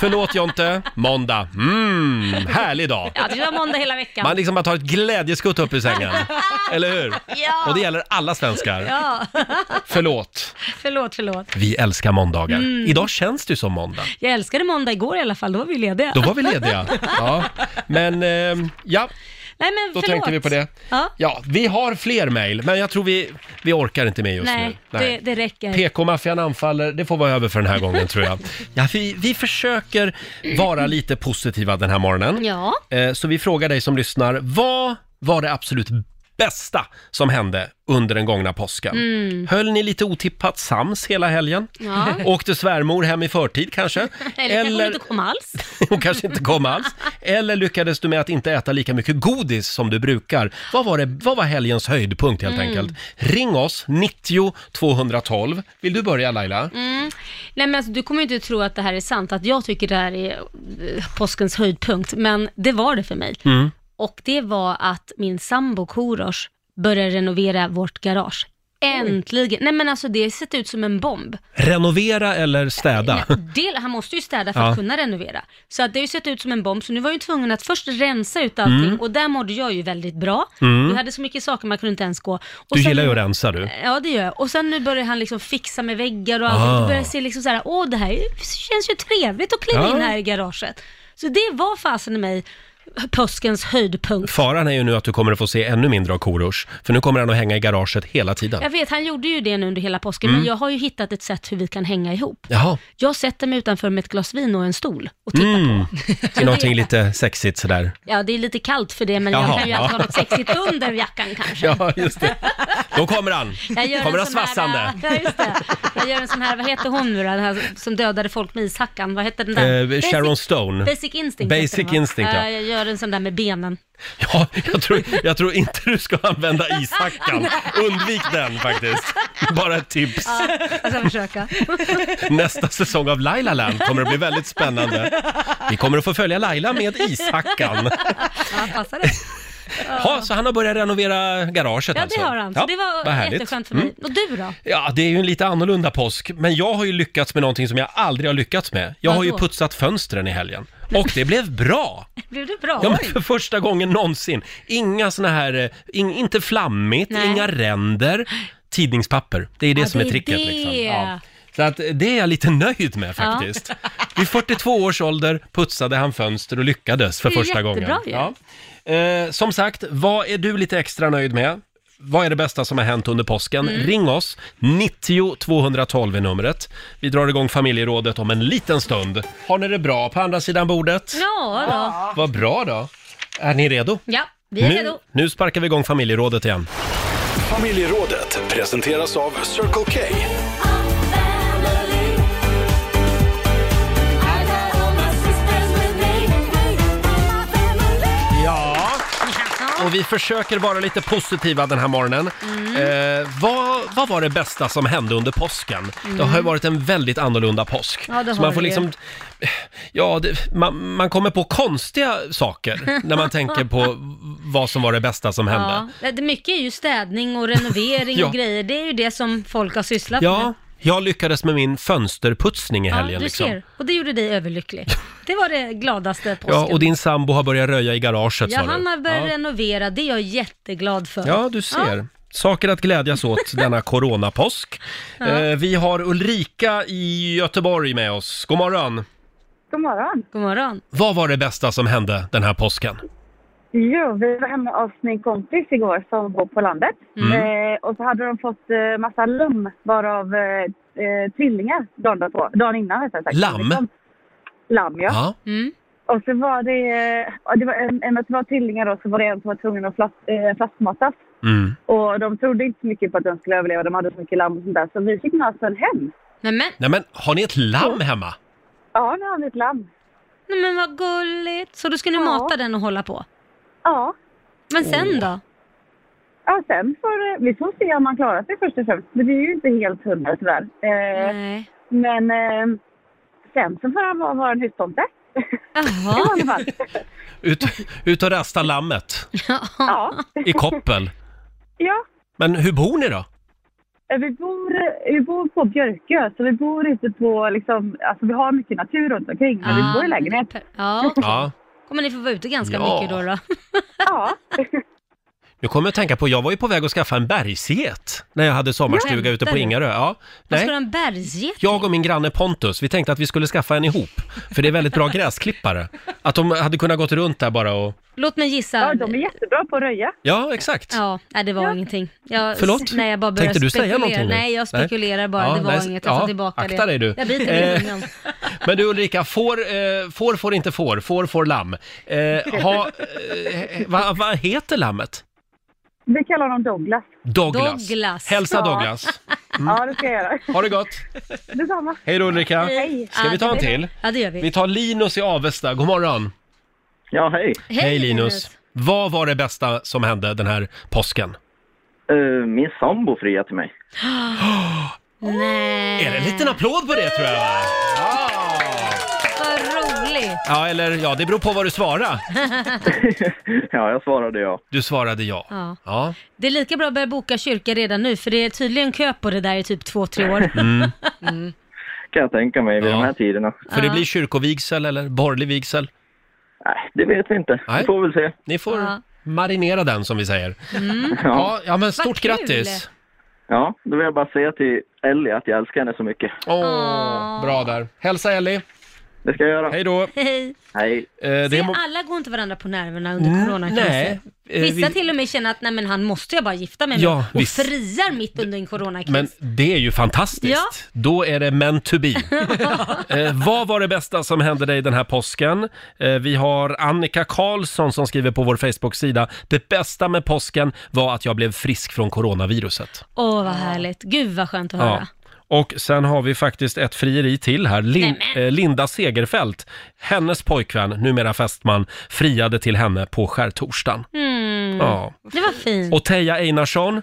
S1: Förlåt Jonte, måndag, mm, härlig dag.
S2: Ja, det var måndag hela veckan.
S1: Man liksom bara tar ett glädjeskutt upp ur sängen. Eller hur?
S2: Ja.
S1: Och det gäller alla svenskar.
S2: Ja,
S1: Förlåt.
S2: förlåt, förlåt.
S1: Vi älskar måndagar.
S2: Mm.
S1: Idag känns det ju som måndag.
S2: Jag älskade måndag igår i alla fall, då var vi lediga.
S1: Då var vi lediga. Ja. Men eh, ja,
S2: Nej men
S1: då
S2: förlåt.
S1: tänkte vi på det.
S2: Ja.
S1: Ja, vi har fler mejl, men jag tror vi, vi orkar inte med just
S2: Nej,
S1: nu.
S2: Det, det räcker.
S1: PK-maffian anfaller, det får vara över för den här gången tror jag. Ja, vi, vi försöker vara lite positiva den här morgonen.
S2: Ja.
S1: Eh, Så vi frågar dig som lyssnar, vad var det absolut bästa som hände under den gångna påsken? Höll ni lite otippat sams hela helgen?
S2: Mm. Ja.
S1: Åkte svärmor hem i förtid kanske?
S2: Eller, kanske hon inte kom alls.
S1: hon kanske inte kom alls. Eller lyckades du med att inte äta lika mycket godis som du brukar? Vad var, det, vad var helgens höjdpunkt helt
S2: Mm.
S1: enkelt? Ring oss, 90 212. Vill du börja Laila?
S2: Mm. Nej men alltså, du kommer ju inte tro att det här är sant, att jag tycker det här är eh, påskens höjdpunkt, men det var det för mig.
S1: Mm.
S2: Och det var att min sambo Korosh började renovera vårt garage. Äntligen! Nej men alltså det har sett ut som en bomb.
S1: Renovera eller städa?
S2: Nej, del, han måste ju städa för
S1: Ja.
S2: att kunna renovera. Så att det har ju sett ut som en bomb, så nu var jag ju tvungen att först rensa ut allting
S1: Mm.
S2: och där mådde jag ju väldigt bra. Vi hade så mycket saker man kunde inte ens gå. Och
S1: Du
S2: sen-
S1: gillar ju att rensa du.
S2: Ja, det gör jag. Och sen nu börjar han liksom fixa med väggar och allt.
S1: Ah.
S2: Och då börjar jag se liksom så här, åh det här är- känns ju trevligt att kliva
S1: Ja.
S2: in här i garaget. Så det var fasen i mig påskens höjdpunkt.
S1: Faran är ju nu att du kommer att få se ännu mindre av Korosh, för nu kommer han att hänga i garaget hela tiden.
S2: Jag vet, han gjorde ju det nu under hela påsken,
S1: Mm.
S2: men jag har ju hittat ett sätt hur vi kan hänga ihop.
S1: Jaha,
S2: Jag sätter mig utanför med ett glas vin och en stol och tittar
S1: Mm.
S2: på.
S1: det är någonting lite sexigt sådär.
S2: Ja, det är lite kallt för det, men
S1: Jaha,
S2: jag kan ju
S1: ja.
S2: alltid ha något sexigt under jackan kanske.
S1: Ja, just det. Då kommer han!
S2: Jag gör
S1: Kommer
S2: en
S1: han
S2: sån här-
S1: svassande?
S2: Ja, just det. Jag gör en sån här, vad heter hon nu då, den här som dödade folk med ishackan? Vad hette den där?
S1: Eh, Sharon Stone.
S2: Basic Instinct
S1: Basic
S2: heter den, va?
S1: Instinct, ja.
S2: Jag gör en sån där med benen.
S1: Ja, jag tror, jag tror inte du ska använda ishackan. Undvik den faktiskt. Bara ett tips.
S2: Jag ska försöka.
S1: Nästa säsong av Laila Land kommer att bli väldigt spännande. Vi kommer att få följa Laila med ishackan.
S2: Ja, passar det?
S1: Ja, så han har börjat renovera garaget
S2: Ja,
S1: alltså.
S2: det har han. Så det
S1: vad
S2: var
S1: härligt. Mm.
S2: jätteskönt för mig. Och du då?
S1: Ja, det är ju en lite annorlunda påsk, men jag har ju lyckats med någonting som jag aldrig har lyckats med. Jag har ju
S2: Vadå?
S1: putsat fönstren i helgen. Och det blev bra!
S2: Blev du bra?
S1: Ja, men för första gången någonsin. Inga såna här, eh, in, inte flammigt,
S2: Nej.
S1: inga ränder, tidningspapper. Det är det
S2: Ja,
S1: som är
S2: det är
S1: tricket
S2: det.
S1: liksom. Ja. Så att eh, det är jag lite nöjd med faktiskt. Vid 42 års ålder putsade han fönster och lyckades för
S2: Det är
S1: första gången.
S2: jättebra ju.
S1: Ja. Eh, som sagt, vad är du lite extra nöjd med? Vad är det bästa som har hänt under påsken?
S2: Mm.
S1: Ring oss, 90 212 är numret. Vi drar igång familjerådet om en liten stund. Har ni det bra på andra sidan bordet?
S2: Ja, då.
S1: Vad bra då. Är ni redo?
S2: Ja, vi är
S1: Nu,
S2: redo.
S1: nu sparkar vi igång familjerådet igen.
S4: Familjerådet presenteras av Circle K.
S1: Ja. Och vi försöker vara lite positiva den här morgonen.
S2: Mm.
S1: Eh, vad, vad var det bästa som hände under påsken? Det har ju varit en väldigt annorlunda påsk.
S2: Mm. Ja, det
S1: Så
S2: har
S1: man får
S2: det ju.
S1: liksom... Ja, det, man, man kommer på konstiga saker när man tänker på vad som var det bästa som hände.
S2: Ja. Det mycket är ju städning och renovering
S1: Ja.
S2: och grejer. Det är ju det som folk har sysslat
S1: Ja,
S2: med.
S1: jag lyckades med min fönsterputsning i helgen.
S2: ja, du
S1: liksom.
S2: ser. Och det gjorde dig överlycklig. Det var det gladaste påsken.
S1: Ja, och din sambo har börjat röja i garaget
S2: Ja,
S1: sa du.
S2: han har börjat
S1: Ja.
S2: renovera. Det är jag jätteglad för.
S1: Ja, du ser. Saker att glädjas åt denna coronapåsk. Eh, vi har Ulrika i Göteborg med oss. God morgon!
S5: God morgon.
S2: God morgon.
S1: Vad var det bästa som hände den här påsken?
S5: Jo, vi var hemma hos min kompis igår som bor på landet. Eh, och så hade de fått eh, massa lamm, varav eh, eh, tvillingar dagen, därpå- dagen innan. rättare sagt. Liksom.
S1: Lamm?
S5: Lamm, ja.
S1: Ja.
S2: Mm.
S5: Och så var det, eh, ja, det var en, en att det var tvillingar då, så var det en som var tvungen att flas, eh, flaskmatas.
S1: Mm.
S5: Och de trodde inte så mycket på att den skulle överleva, de hade så mycket lamm och sånt där. Så vi fick med oss den hem.
S2: Nej men,
S1: Nej men, har ni ett lamm hemma?
S5: Ja, nu har vi ett lamm.
S2: nej men vad gulligt. Så då ska ni
S5: Ja.
S2: mata den och hålla på.
S5: Ja.
S2: Men sen då?
S5: Ja, sen får eh, vi får se om man klarar sig först och främst. Men det är ju inte helt hundra tyvärr. Eh,
S2: Nej.
S5: men eh, sen så får han vara vara en hustomte. I
S2: Jaha.
S5: alla fall.
S1: Ut, ut och rasta lammet
S5: Ja.
S1: i koppel.
S5: ja.
S1: Men hur bor ni då?
S5: Eh, Vi bor, vi bor på Björkö, så vi bor inte på liksom, alltså vi har mycket natur runt omkring, men vi bor i lägenhet.
S2: Ah, Ja, okej.
S1: Ja.
S2: Kommer ni få vara ute ganska
S1: Ja.
S2: mycket då? då?
S5: Ja,
S1: Nu kommer jag att tänka på, jag var ju på väg att skaffa en bergsget när jag hade sommarstuga
S2: Skämtar
S1: ute på
S2: du?
S1: Ingarö. Ja.
S2: Vad Ska
S1: Nej.
S2: du ha en bergsget?
S1: Jag och min granne Pontus, vi tänkte att vi skulle skaffa en ihop. För det är väldigt bra gräsklippare. Att de hade kunnat gått runt där bara och...
S2: Låt mig gissa.
S5: ja, de är jättebra på att röja.
S1: Ja, exakt.
S2: Ja, nej, det var ingenting. Jag,
S1: Förlåt?
S2: Nej, jag bara började
S1: Tänkte du säga
S2: spekulera.
S1: någonting nu?
S2: Nej, jag spekulerar
S1: Nej.
S2: bara.
S1: Ja,
S2: det var
S1: nej,
S2: inget. Jag tar
S1: ja,
S2: tillbaka det.
S1: akta dig du.
S2: Jag biter
S1: Eh.
S2: i tungan.
S1: Men du Ulrika, får, eh, får, får inte får, får, får lamm. Eh, ha, eh, vad vad heter lammet?
S5: Vi kallar honom Douglas.
S1: Douglas.
S2: Douglas.
S1: Hälsa
S5: Ja.
S1: Douglas.
S5: Ja, det ska jag göra.
S1: Ha det gott.
S5: Detsamma.
S1: Hej då Ulrika.
S5: Hej.
S1: Ska vi ta en till?
S2: Ja, det gör vi.
S1: Vi tar Linus i Avesta. God morgon.
S6: Ja, hej.
S1: Hej Linus. Vad var det bästa som hände den här påsken?
S6: Eh, min sambo friade till mig.
S2: Nej,
S1: Är det en liten applåd på det tror jag? va?
S2: vad roligt.
S1: Ja, eller ja, det beror på vad du svarar.
S6: ja, jag svarade ja.
S1: Du svarade ja.
S2: Ja.
S1: Ja,
S2: Det är lika bra att börja boka kyrka redan nu, för det är tydligen kö på det där i typ två, tre år.
S1: Mm.
S6: Kan jag tänka mig vid
S1: Ja.
S6: de här tiderna.
S1: för det blir kyrkovigsel eller borgerlig vigsel.
S6: Nej, det vet vi inte.
S1: Nej.
S6: Vi får väl se.
S1: Ni får
S2: Ja.
S1: marinera den som vi säger.
S6: Ja.
S1: Ja, ja men stort
S2: kul.
S1: grattis!
S6: ja, då vill jag bara säga till Ellie att jag älskar henne så mycket.
S1: Åh, bra där. Hälsa Ellie!
S6: Det ska jag göra.
S1: Hej då! Eh,
S2: Hej.
S6: Hej.
S1: det är
S2: Se,
S1: mo-
S2: alla går inte varandra på nerverna under
S1: Mm,
S2: coronakrisen.
S1: nej. Eh,
S2: Vissa
S1: vi-
S2: till och med känner att nej men han måste jag bara gifta mig med
S1: Ja,
S2: och
S1: visst.
S2: friar mitt under en coronakris.
S1: men det är ju fantastiskt.
S2: Ja.
S1: Då är det meant to be. eh, vad var det bästa som hände dig den här påsken? Eh, vi har Annika Karlsson som skriver på vår Facebook-sida. Det bästa med påsken var att jag blev frisk från coronaviruset.
S2: Åh vad härligt, gud vad skönt att höra.
S1: Och sen har vi faktiskt ett frieri till här. Lin-
S2: Nämen.
S1: eh, Linda Segerfält, hennes pojkvän, numera fästman, friade till henne på skärtorsdagen.
S2: Mm,
S1: Ja.
S2: Det var fint.
S1: Och Teija Einarsson,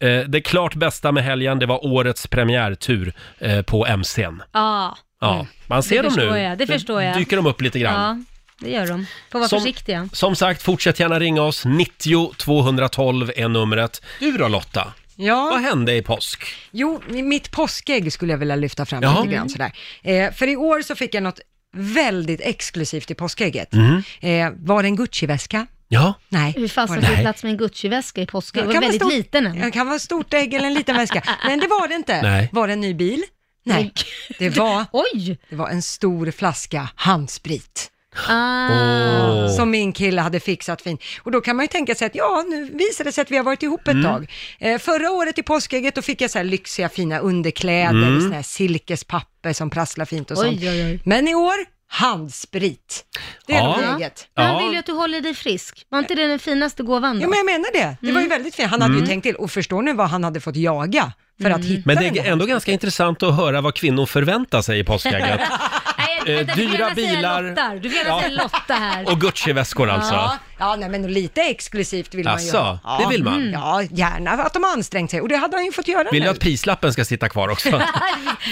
S1: eh, det klart bästa med helgen, det var årets premiärtur eh, på MCn.
S2: ja,
S1: Ja, man ser dem
S2: förstår
S1: nu.
S2: jag, Mm. det
S1: Nu
S2: förstår jag.
S1: dyker de upp lite grann.
S2: ja, det gör de. Får vara
S1: Som-
S2: försiktiga.
S1: Som sagt, fortsätt gärna ringa oss. 90 212 är numret. Du då Lotta, vad
S3: Ja,
S1: hände i påsk?
S3: jo, mitt påskägg skulle jag vilja lyfta fram
S1: Jaha.
S3: lite grann sådär. Eh, för i år så fick jag något väldigt exklusivt i påskägget.
S1: Mhm.
S3: Eh, var det en Gucci-väska?
S1: Ja,
S3: Nej.
S2: Hur
S3: var
S2: fasen
S3: det-
S2: får
S1: Nej.
S2: du plats med en Gucci-väska i påsk? Det
S3: Det
S2: var
S3: kan vara
S2: väldigt
S3: stort-
S2: liten än.
S3: Det kan vara ett stort ägg eller en liten väska. Men det var det inte.
S1: Nej.
S3: Var det en ny bil? Nej. Det var,
S2: Oj!
S3: det var en stor flaska handsprit.
S2: Ah.
S3: Som min kille hade fixat fint. Och då kan man ju tänka sig att ja, nu visar det sig att vi har varit ihop ett
S1: Mm.
S3: tag. Eh, förra året i påskägget då fick jag så här lyxiga fina underkläder
S1: Mm.
S3: och sån här silkespapper som prasslar fint och
S2: Oj,
S3: sånt.
S2: oj, oj.
S3: Men i år, handsprit. Det är
S1: Ja.
S3: nog läget.
S2: Men han
S1: Ja.
S2: vill ju att du håller dig frisk. Var inte det den finaste gåvan då?
S3: Jo, men jag menar det. Det var
S2: Mm.
S3: ju väldigt fint. Han hade ju tänkt till. Och förstår nu vad han hade fått jaga för
S2: Mm.
S3: att hitta
S1: Mm. Men det
S3: den där
S1: är ändå ganska intressant att höra vad kvinnor förväntar sig i påskägget.
S2: Nej,
S1: Eh,
S2: vänta, du får
S1: dyra
S2: gärna säga
S1: bilar.
S2: Lottar. Du får gärna
S1: Ja.
S2: säga Lotta här.
S1: Och Gucci-väskor alltså.
S3: Ja, ja nej, men lite exklusivt vill man ju
S1: Asså,
S3: ha. Ja.
S1: det vill
S2: Mm.
S1: man.
S3: Ja, gärna att de har ansträngt sig och det hade han ju fått göra
S1: Vill
S3: nu.
S1: du att prislappen ska sitta kvar också?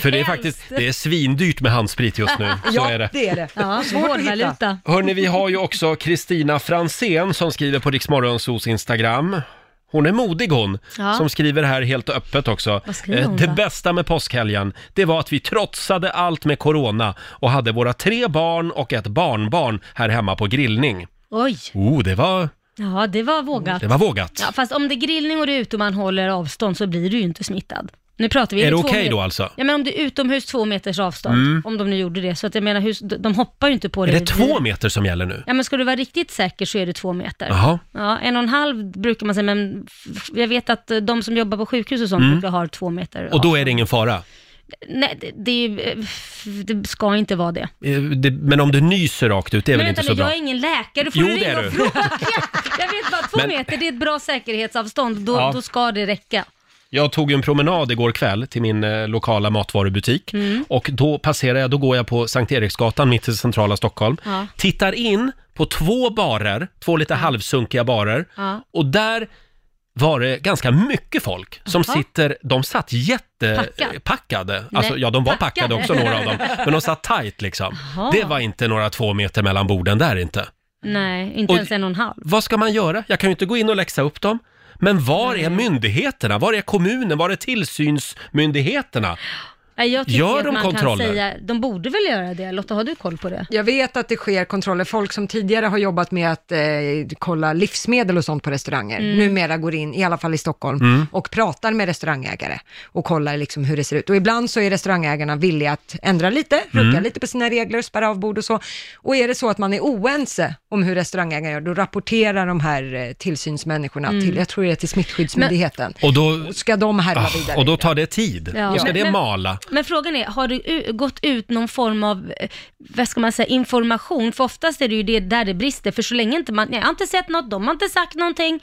S1: För det är faktiskt, det är svindyrt med handsprit just nu. Så
S3: ja,
S1: är det.
S3: det är det.
S2: Ja,
S3: Svårt att hitta.
S2: hårdvaluta.
S1: Hörni, vi har ju också Kristina Fransén som skriver på Riksmorgonsos Instagram. Hon är modig hon,
S2: Ja.
S1: som skriver här helt öppet också.
S2: Vad skriver
S1: Eh,
S2: hon
S1: det
S2: då?
S1: bästa med påskhelgen, det var att vi trotsade allt med corona och hade våra tre barn och ett barnbarn här hemma på grillning.
S2: Oj,
S1: Oh, det var,
S2: ja det var vågat.
S1: det var vågat.
S2: Ja, fast om det är grillning och du är ute och man håller avstånd så blir du ju inte smittad. Nu pratar vi
S1: Är det
S2: två
S1: okej
S2: meter-
S1: då alltså? Mm.
S2: Ja men om du är utomhus två meters avstånd, om de nu gjorde det. Så att jag menar, hur, de- de hoppar ju inte på
S1: Är
S2: dig.
S1: det två meter som gäller nu?
S2: Ja men ska du vara riktigt säker så är det två meter.
S1: Jaha.
S2: Ja, en och en halv brukar man säga, men f- jag vet att eh, de som jobbar på sjukhus och sånt brukar ha två meter
S1: Mm. Och då är det ingen fara?
S2: Nej, det, det, är ju- eh, f- det ska inte vara det.
S1: Eh, det, men om du nyser rakt ut, det är väl
S2: men
S1: inte så
S2: nu,
S1: bra?
S2: jag är ingen läkare, du får
S1: Jo,
S2: du
S1: det är
S2: ringa och
S1: du.
S2: fråga. Jag vet bara, två
S1: Men-
S2: meter, det är ett bra säkerhetsavstånd, då,
S1: Ja.
S2: då ska det räcka.
S1: Jag tog ju en promenad igår kväll till min eh, lokala matvarubutik
S2: Mm.
S1: och då passerar jag, då går jag på Sankt Eriksgatan mitt i centrala Stockholm.
S2: Ja.
S1: Tittar in på två barer, två lite halvsunkiga barer
S2: Ja.
S1: och där var det ganska mycket folk som
S2: Jaha.
S1: sitter, de satt
S2: Packad.
S1: jättepackade. Packade. Alltså,
S2: Nej,
S1: ja, de var packade.
S2: packade.
S1: också några av dem, men de satt tajt liksom.
S2: Jaha.
S1: Det var inte några två meter mellan borden där inte.
S2: Nej, inte
S1: Och-
S2: ens en och en halv.
S1: Vad ska man göra? Jag kan ju inte gå in och läxa upp dem. Men var är myndigheterna? Var är kommunen? Var är tillsynsmyndigheterna?
S2: Nej, jag tycker
S1: Gör
S2: att
S1: de
S2: man
S1: kontroller?
S2: kan säga, de borde väl göra det. Lotta, har du koll på det?
S3: Jag vet att det sker kontroller. Folk som tidigare har jobbat med att eh, kolla livsmedel och sånt på restauranger,
S1: Mm.
S3: numera går in, i alla fall i Stockholm, och pratar med restaurangägare och kollar liksom hur det ser ut. Och ibland så är restaurangägarna villiga att ändra lite,
S1: Mm.
S3: rucka lite på sina regler, spärra av bord och så. Och är det så att man är oense om hur restaurangägarna gör, då rapporterar de här eh, tillsynsmänniskorna till, jag tror det är till smittskyddsmyndigheten.
S1: Mm. Och då,
S3: och ska de härva
S1: ah,
S3: vidare?
S1: och då tar det tid.
S2: Ja.
S1: Då ska
S2: Men-
S1: det
S2: men-
S1: mala.
S2: Men frågan är, har det u- gått ut någon form av, eh, vad ska man säga, information? För oftast är det ju det där det brister, för så länge inte man, jag har inte sett något, de har inte sagt någonting,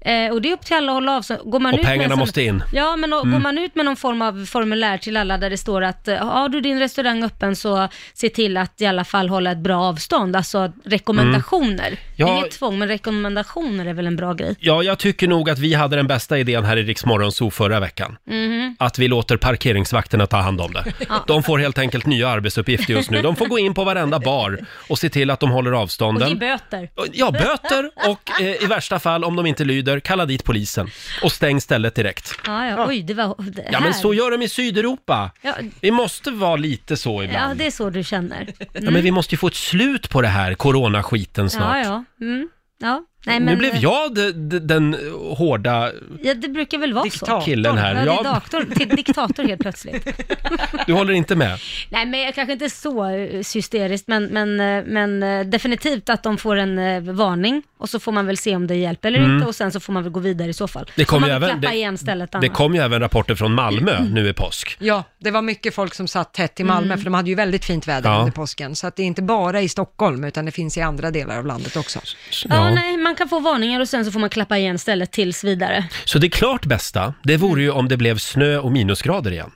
S2: eh, och det är upp till alla att hålla av. Så går man
S1: Och
S2: ut med en
S1: pengarna
S2: sån-
S1: måste in. Mm.
S2: Ja, men och, går man ut med någon form av formulär till alla där det står att eh, har du din restaurang öppen så se till att i alla fall hålla ett bra avstånd, alltså rekommendationer.
S1: Mm. Ja.
S2: Inget tvång, men rekommendationer är väl en bra grej.
S1: Ja, jag tycker nog att vi hade den bästa idén här i Rix Morgonzoo förra veckan.
S2: Mhm. Mm.
S1: Att vi låter parkeringsvakterna ta hand om det. De får helt enkelt nya arbetsuppgifter just nu. De får gå in på varenda bar och se till att de håller
S2: Och ge
S1: avstånden.
S2: böter.
S1: Ja, böter och eh, i värsta fall, om de inte lyder, kalla dit polisen och stäng stället direkt.
S2: Ja, ja, oj, det var det
S1: Ja, men
S2: här.
S1: så gör de i Sydeuropa.
S2: Ja.
S1: Vi måste vara lite så ibland.
S2: Ja, det är så du känner. Mm.
S1: Ja, men vi måste ju få ett slut på det här coronaskiten snart.
S2: Ja, ja. Mm. ja. Nej,
S1: Nu blev jag d- d- den hårda...
S2: Ja, det brukar väl vara så.
S3: Diktat.
S1: Killen här.
S2: Ja, det är
S1: Jag-
S2: doktor, till diktator helt plötsligt.
S1: Du håller inte med?
S2: Nej, men jag kanske inte är så eh, hysteriskt, men, men, eh, men eh, definitivt att de får en eh, varning och så får man väl se om det hjälper eller inte och sen så får man väl gå vidare i så fall.
S1: Mm. Det
S2: Får
S1: kom,
S2: man
S1: ju
S2: väl
S1: även,
S2: klappa igen
S1: det,
S2: stället
S1: det
S2: annars. Mm.
S1: kom ju även rapporter från Malmö nu i påsk.
S3: Ja, det var mycket folk som satt tätt i Malmö, för de hade ju väldigt fint väder
S1: Ja.
S3: under påsken. Så att det är inte bara i Stockholm, utan det finns i andra delar av landet också.
S2: Ja, nej, man kan få varningar och sen så får man klappa igen stället tills vidare.
S1: Så det klart bästa, det
S2: Mm.
S1: vore ju om det blev snö och minusgrader igen.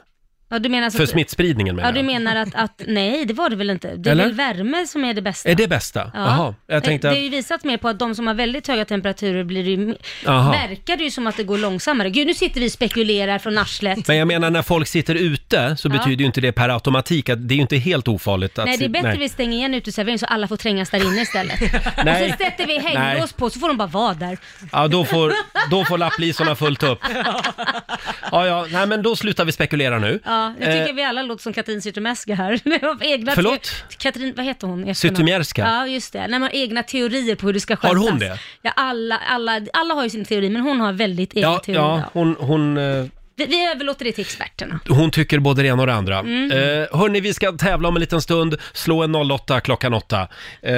S2: Ja, du menar så
S1: För
S2: att,
S1: smittspridningen
S2: ja,
S1: menar
S2: du
S1: jag.
S2: menar att, att, nej, det var det väl inte. Det är
S1: Eller?
S2: väl värme som är det bästa.
S1: Är det bästa?
S2: Ja.
S1: Jaha, jag tänkte
S2: Det är
S1: att...
S2: ju visat mer på att de som har väldigt höga temperaturer blir ju,
S1: Jaha.
S2: verkar det ju som att det går långsammare. Gud, nu sitter vi och spekulerar från arslet.
S1: Men jag menar när folk sitter ute så
S2: Ja.
S1: betyder ju inte det per automatik att det är ju inte helt ofarligt att...
S2: Nej, det är
S1: sit-
S2: bättre vi stänger igen uteserveringen så alla får trängas där inne istället.
S1: Nej.
S2: Och så sätter vi
S1: Nej.
S2: hänglås på så får de bara vara där.
S1: Ja, då får, då får lapplisorna fullt upp. Ja, ja, nej men då slutar vi spekulera nu.
S2: Ja, jag tycker
S1: Eh,
S2: vi alla låter som Katrin Zytomierska här. Av egna
S1: Förlåt?
S2: Katrin, vad heter hon? i efternamn?
S1: Zytomierska?
S2: Ja, just det. När man har egna teorier på hur det ska skötas.
S1: Har hon det?
S2: Ja, alla, alla, alla har ju sin teori, men hon har väldigt egna
S1: ja,
S2: teorier.
S1: ja,
S2: Ja.
S1: hon, hon, eh,
S2: Vi, vi överlåter det till experterna.
S1: hon tycker både det ena och det andra.
S2: Mm.
S1: Eh, hörni, vi ska tävla om en liten stund. Slå en 08 klockan 8. Eh,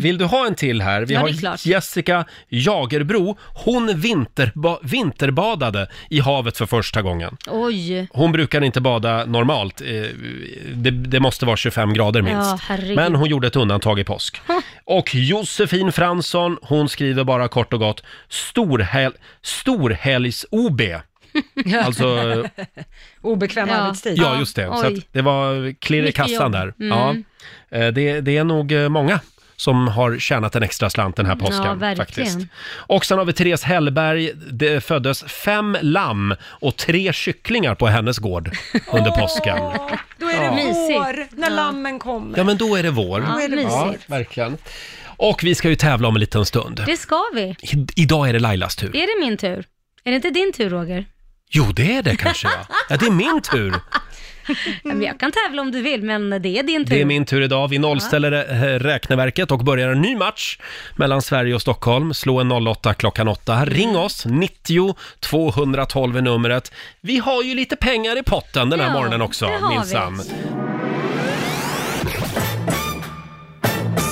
S1: vill du ha en till här? Vi
S2: Ja, det är
S1: har
S2: klart.
S1: Jessica Jagerbro. Hon vinterba vinterbadade i havet för första gången.
S2: Oj.
S1: Hon brukar inte bada normalt. Eh, Det, det måste vara 25 grader
S2: Ja,
S1: minst.
S2: herregud.
S1: Men hon gjorde ett undantag i påsk. Och Josefin Fransson, hon skriver bara kort och gott storhel, storhelgs-OB. Alltså,
S3: Obekväm
S2: Ja.
S3: arbetstid.
S1: ja just det. Så
S2: oj.
S1: att det var klirr i
S2: Mycket
S1: kassan
S2: jobb.
S1: där.
S2: Mm.
S1: Ja. Eh, Det, det är nog eh, många som har tjänat en extra slant den här
S2: Ja,
S1: påsken.
S2: verkligen.
S1: faktiskt. Och sen har vi Therese Hellberg. Det föddes fem lamm och tre kycklingar på hennes gård under påsken.
S3: Då är det
S2: Mysigt.
S3: vår, när lammen kommer.
S1: Ja, men då är det vår.
S2: Ja, mysigt.
S1: verkligen. Och vi ska ju tävla om en liten stund.
S2: Det ska vi.
S1: I- idag är det Lailas tur.
S2: Är det min tur? Är det inte din tur, Roger?
S1: Jo, det är det kanske ja. Ja, det är min tur.
S2: Ja, men Jag kan tävla om du vill, men det är din tur.
S1: Det är min tur idag. Vi nollställer eh, räkneverket och börjar en ny match mellan Sverige och Stockholm. Slå en 08 klockan 8. Ring
S2: Mm.
S1: oss, 90 212 är numret. Vi har ju lite pengar i potten den här
S2: Ja,
S1: morgonen också,
S2: det har vi.
S1: minsann.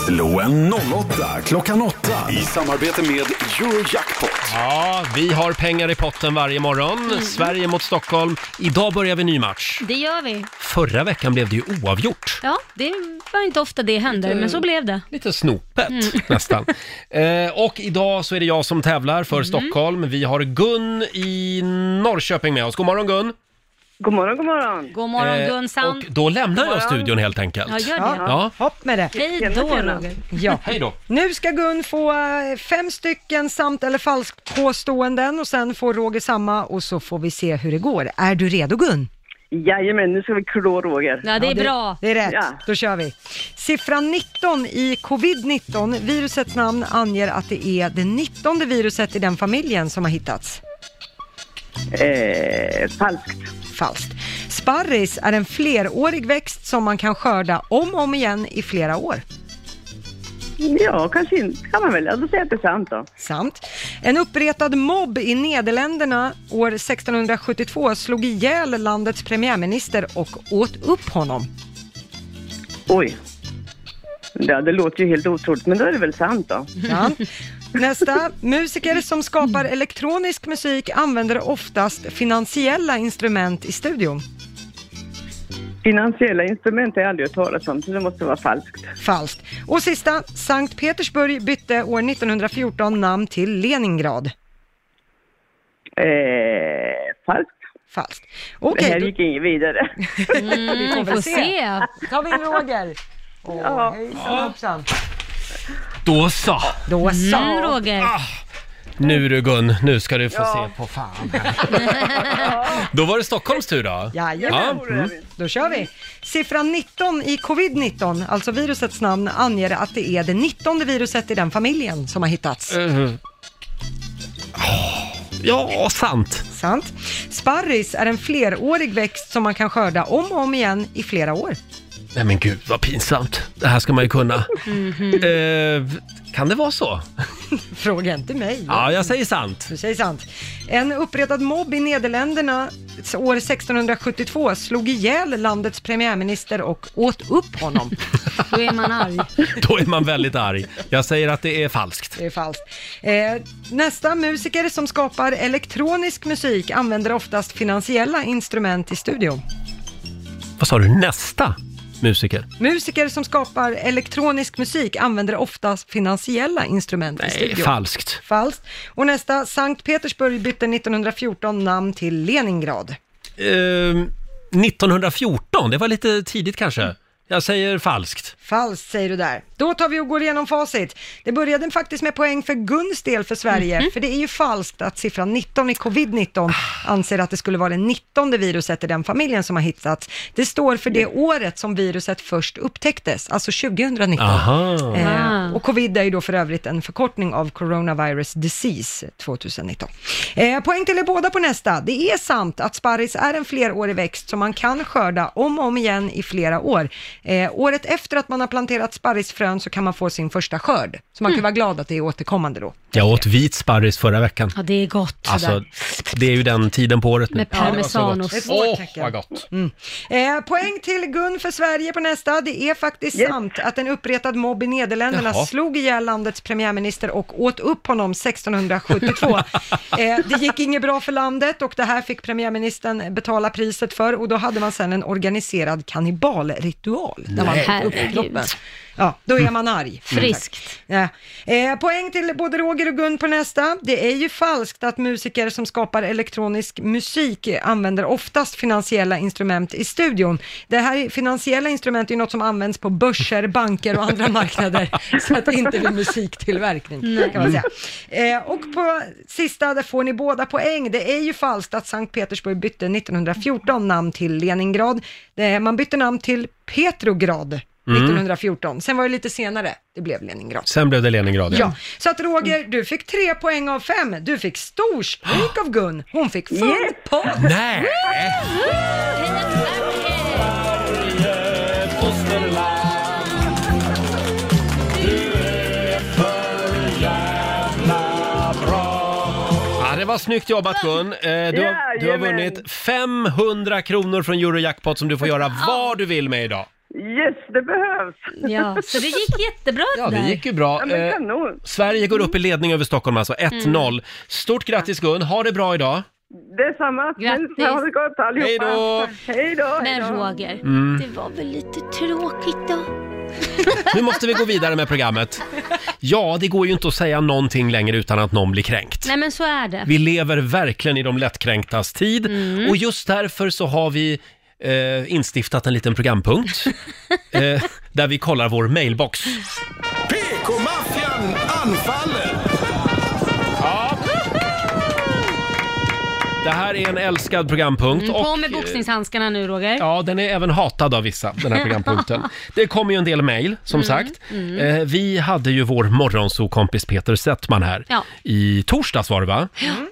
S4: Slå en 08 klockan 8 i samarbete med Eurojackpot.
S1: Ja, vi har pengar i potten varje morgon.
S2: Mm.
S1: Sverige mot Stockholm. Idag börjar vi en ny match.
S2: Det gör vi.
S1: Förra veckan blev det ju oavgjort.
S2: Ja, det var inte ofta det händer, men så blev det.
S1: Lite snopet
S2: Mm.
S1: nästan. Eh, och idag så är det jag som tävlar
S2: Mm.
S1: för Stockholm. Vi har Gun i Norrköping med oss. God morgon Gun!
S5: God morgon, god morgon.
S2: God morgon,
S1: Eh,
S2: Gun Sound.
S1: och då lämnar jag studion helt enkelt.
S2: Ja, gör det.
S3: Ja.
S1: Ja,
S3: Hopp med det.
S2: Hej då, Roger.
S3: Ja.
S1: hej då.
S3: Nu ska Gun få eh, fem stycken sant eller falskt påståenden och sen får Roger samma och så får vi se hur det går. Är du redo Gun?
S5: Jajamän, nu ska vi klå Roger.
S2: Ja, det är bra.
S3: Det är rätt,
S5: Ja.
S3: då kör vi. Siffran 19 i covid-19, virusets namn anger att det är det 19 viruset i den familjen som har hittats.
S5: Eh, falskt.
S3: Falskt. Sparris är en flerårig växt som man kan skörda om och om igen i flera år.
S5: Ja, kanske inte kan man väl. Ja, då säger jag att det är sant då.
S3: Sant. En uppretad mobb i Nederländerna år 1672 slog ihjäl landets premiärminister och åt upp honom.
S5: Oj. Ja, det låter ju helt otroligt, men då är det väl sant då.
S3: Sant. Nästa. Musiker som skapar elektronisk musik använder oftast finansiella instrument i studion.
S5: Finansiella instrument har jag aldrig hört talas om, så det måste vara falskt.
S3: Falskt. Och sista. Sankt Petersburg bytte år 1914 namn till Leningrad.
S5: Eh, falskt.
S3: Falskt.
S5: det
S3: Okej,
S5: här
S3: då
S5: gick inget vidare.
S2: Mm, får
S3: får väl
S2: se.
S3: se. tar vi in Roger. Åh, hejsan hoppsan.
S1: Då så!
S3: Då så.
S2: Mm, Roger.
S1: Ah. Nu du Gun, nu ska du få se på fan här. Då var det Stockholms tur då.
S3: Jajamän.
S1: mm.
S3: Då kör vi. Siffran 19 i covid-19, alltså virusets namn, anger att det är det 19 viruset i den familjen som har hittats.
S1: Eh, Ja, sant.
S3: Sant. Sparris är en flerårig växt som man kan skörda om och om igen i flera år.
S1: Nej men gud vad pinsamt. Det här ska man ju kunna.
S2: Mhm.
S1: Eh, kan det vara så?
S3: Fråga inte mig.
S1: Ja, jag säger sant.
S3: Du säger sant. En uppretad mobb i Nederländerna år 1672 slog ihjäl landets premiärminister och åt upp honom.
S2: Då är man arg.
S1: Då är man väldigt arg. Jag säger att det är falskt.
S3: Det är falskt. Eh, nästa musiker som skapar elektronisk musik använder oftast finansiella instrument i studion.
S1: Vad sa du? Nästa musiker?
S3: Musiker som skapar elektronisk musik använder oftast finansiella instrument i
S1: Nej,
S3: studion.
S1: Eh, falskt.
S3: Falskt. Och nästa, Sankt Petersburg bytte 1914 namn till Leningrad.
S1: Eh, 1914, det var lite tidigt kanske. Jag säger falskt.
S3: Falskt säger du där. Då tar vi och går igenom facit. Det började faktiskt med poäng för Guns del för Sverige, för det är ju falskt att siffran 19 i covid-19 anser att det skulle vara det 19 viruset i den familjen som har hittats. Det står för det året som viruset först upptäcktes, alltså 2019.
S1: Aha.
S3: Eh,
S2: Ah.
S3: och covid är ju då för övrigt en förkortning av coronavirus disease 2019. Eh, poäng till er båda på nästa. Det är sant att sparris är en flerårig växt som man kan skörda om och om igen i flera år. Eh, året efter att man har planterat sparrisfrön så kan man få sin första skörd. Så man kan vara glad att det är återkommande då.
S1: Jag åt vit sparris förra veckan.
S2: Ja, det är gott.
S1: Alltså, det är ju den tiden på året nu.
S2: Med parmesanost.
S3: Ett
S1: Åh,
S3: år,
S1: oh,
S3: tackar.
S1: vad gott!
S3: Eh, poäng till Gun för Sverige på nästa. Det är faktiskt sant att en uppretad mobb i Nederländerna
S1: Jaha.
S3: slog ihjäl landets premiärminister och åt upp honom 1672. eh, det gick inget bra för landet och det här fick premiärministern betala priset för och då hade man sedan en organiserad kannibalritual när man
S2: Nej.
S3: åt upp kroppen.
S2: Herregud.
S3: Ja, då är man arg.
S2: Friskt.
S3: Ja. Eh, poäng till både Roger och Gun på nästa. Det är ju falskt att musiker som skapar elektronisk musik använder oftast finansiella instrument i studion. Det här finansiella instrument är ju något som används på börser, banker och andra marknader, så att det inte blir musiktillverkning kan man säga. Eh, och på sista, där får ni båda poäng. Det är ju falskt att Sankt Petersburg bytte 1914 namn till Leningrad. Eh, man bytte namn till Petrograd 1914. Sen var det lite senare, det blev Leningrad.
S1: Sen blev det Leningrad,
S3: Ja, så att Roger, du fick tre poäng av fem. Du fick storstryk av Gun. Hon fick full pott.
S1: Nej! Ja, det var snyggt jobbat Gun. Eh, Du har, du har
S5: Jajamän.
S1: vunnit 500 kronor från Eurojackpot som du får göra vad du vill med idag.
S5: Yes, det behövs.
S2: Ja, så det gick jättebra
S1: Ja,
S2: det
S1: det
S2: där.
S1: gick ju bra.
S5: Ja, men
S1: Eh,
S5: kanon.
S1: Sverige går upp i ledning över Stockholm alltså, 1-0. Stort grattis Gun, ha det bra idag.
S5: Detsamma.
S2: Grattis.
S5: Ha det gott allihopa.
S1: Hej då.
S5: Hej då. hej
S2: Men
S5: då.
S2: Roger,
S1: Mm.
S2: det var väl lite tråkigt då?
S1: Nu måste vi gå vidare med programmet. Ja, det går ju inte att säga någonting längre utan att någon blir kränkt.
S2: Nej men så är det.
S1: Vi lever verkligen i de lättkränktas tid
S2: Mm.
S1: och just därför så har vi eh, instiftat en liten programpunkt eh, där vi kollar vår mailbox.
S4: PK-maffian anfaller!
S1: Det här är en älskad programpunkt.
S2: Mm, på
S1: och,
S2: med
S1: eh,
S2: boxningshandskarna nu Roger.
S1: Ja, den är även hatad av vissa, den här programpunkten. Det kom ju en del mejl,
S2: Mm,
S1: som sagt. Eh, vi hade ju vår morgonsokompis Peter Settman här.
S2: Ja.
S1: I torsdags var det va?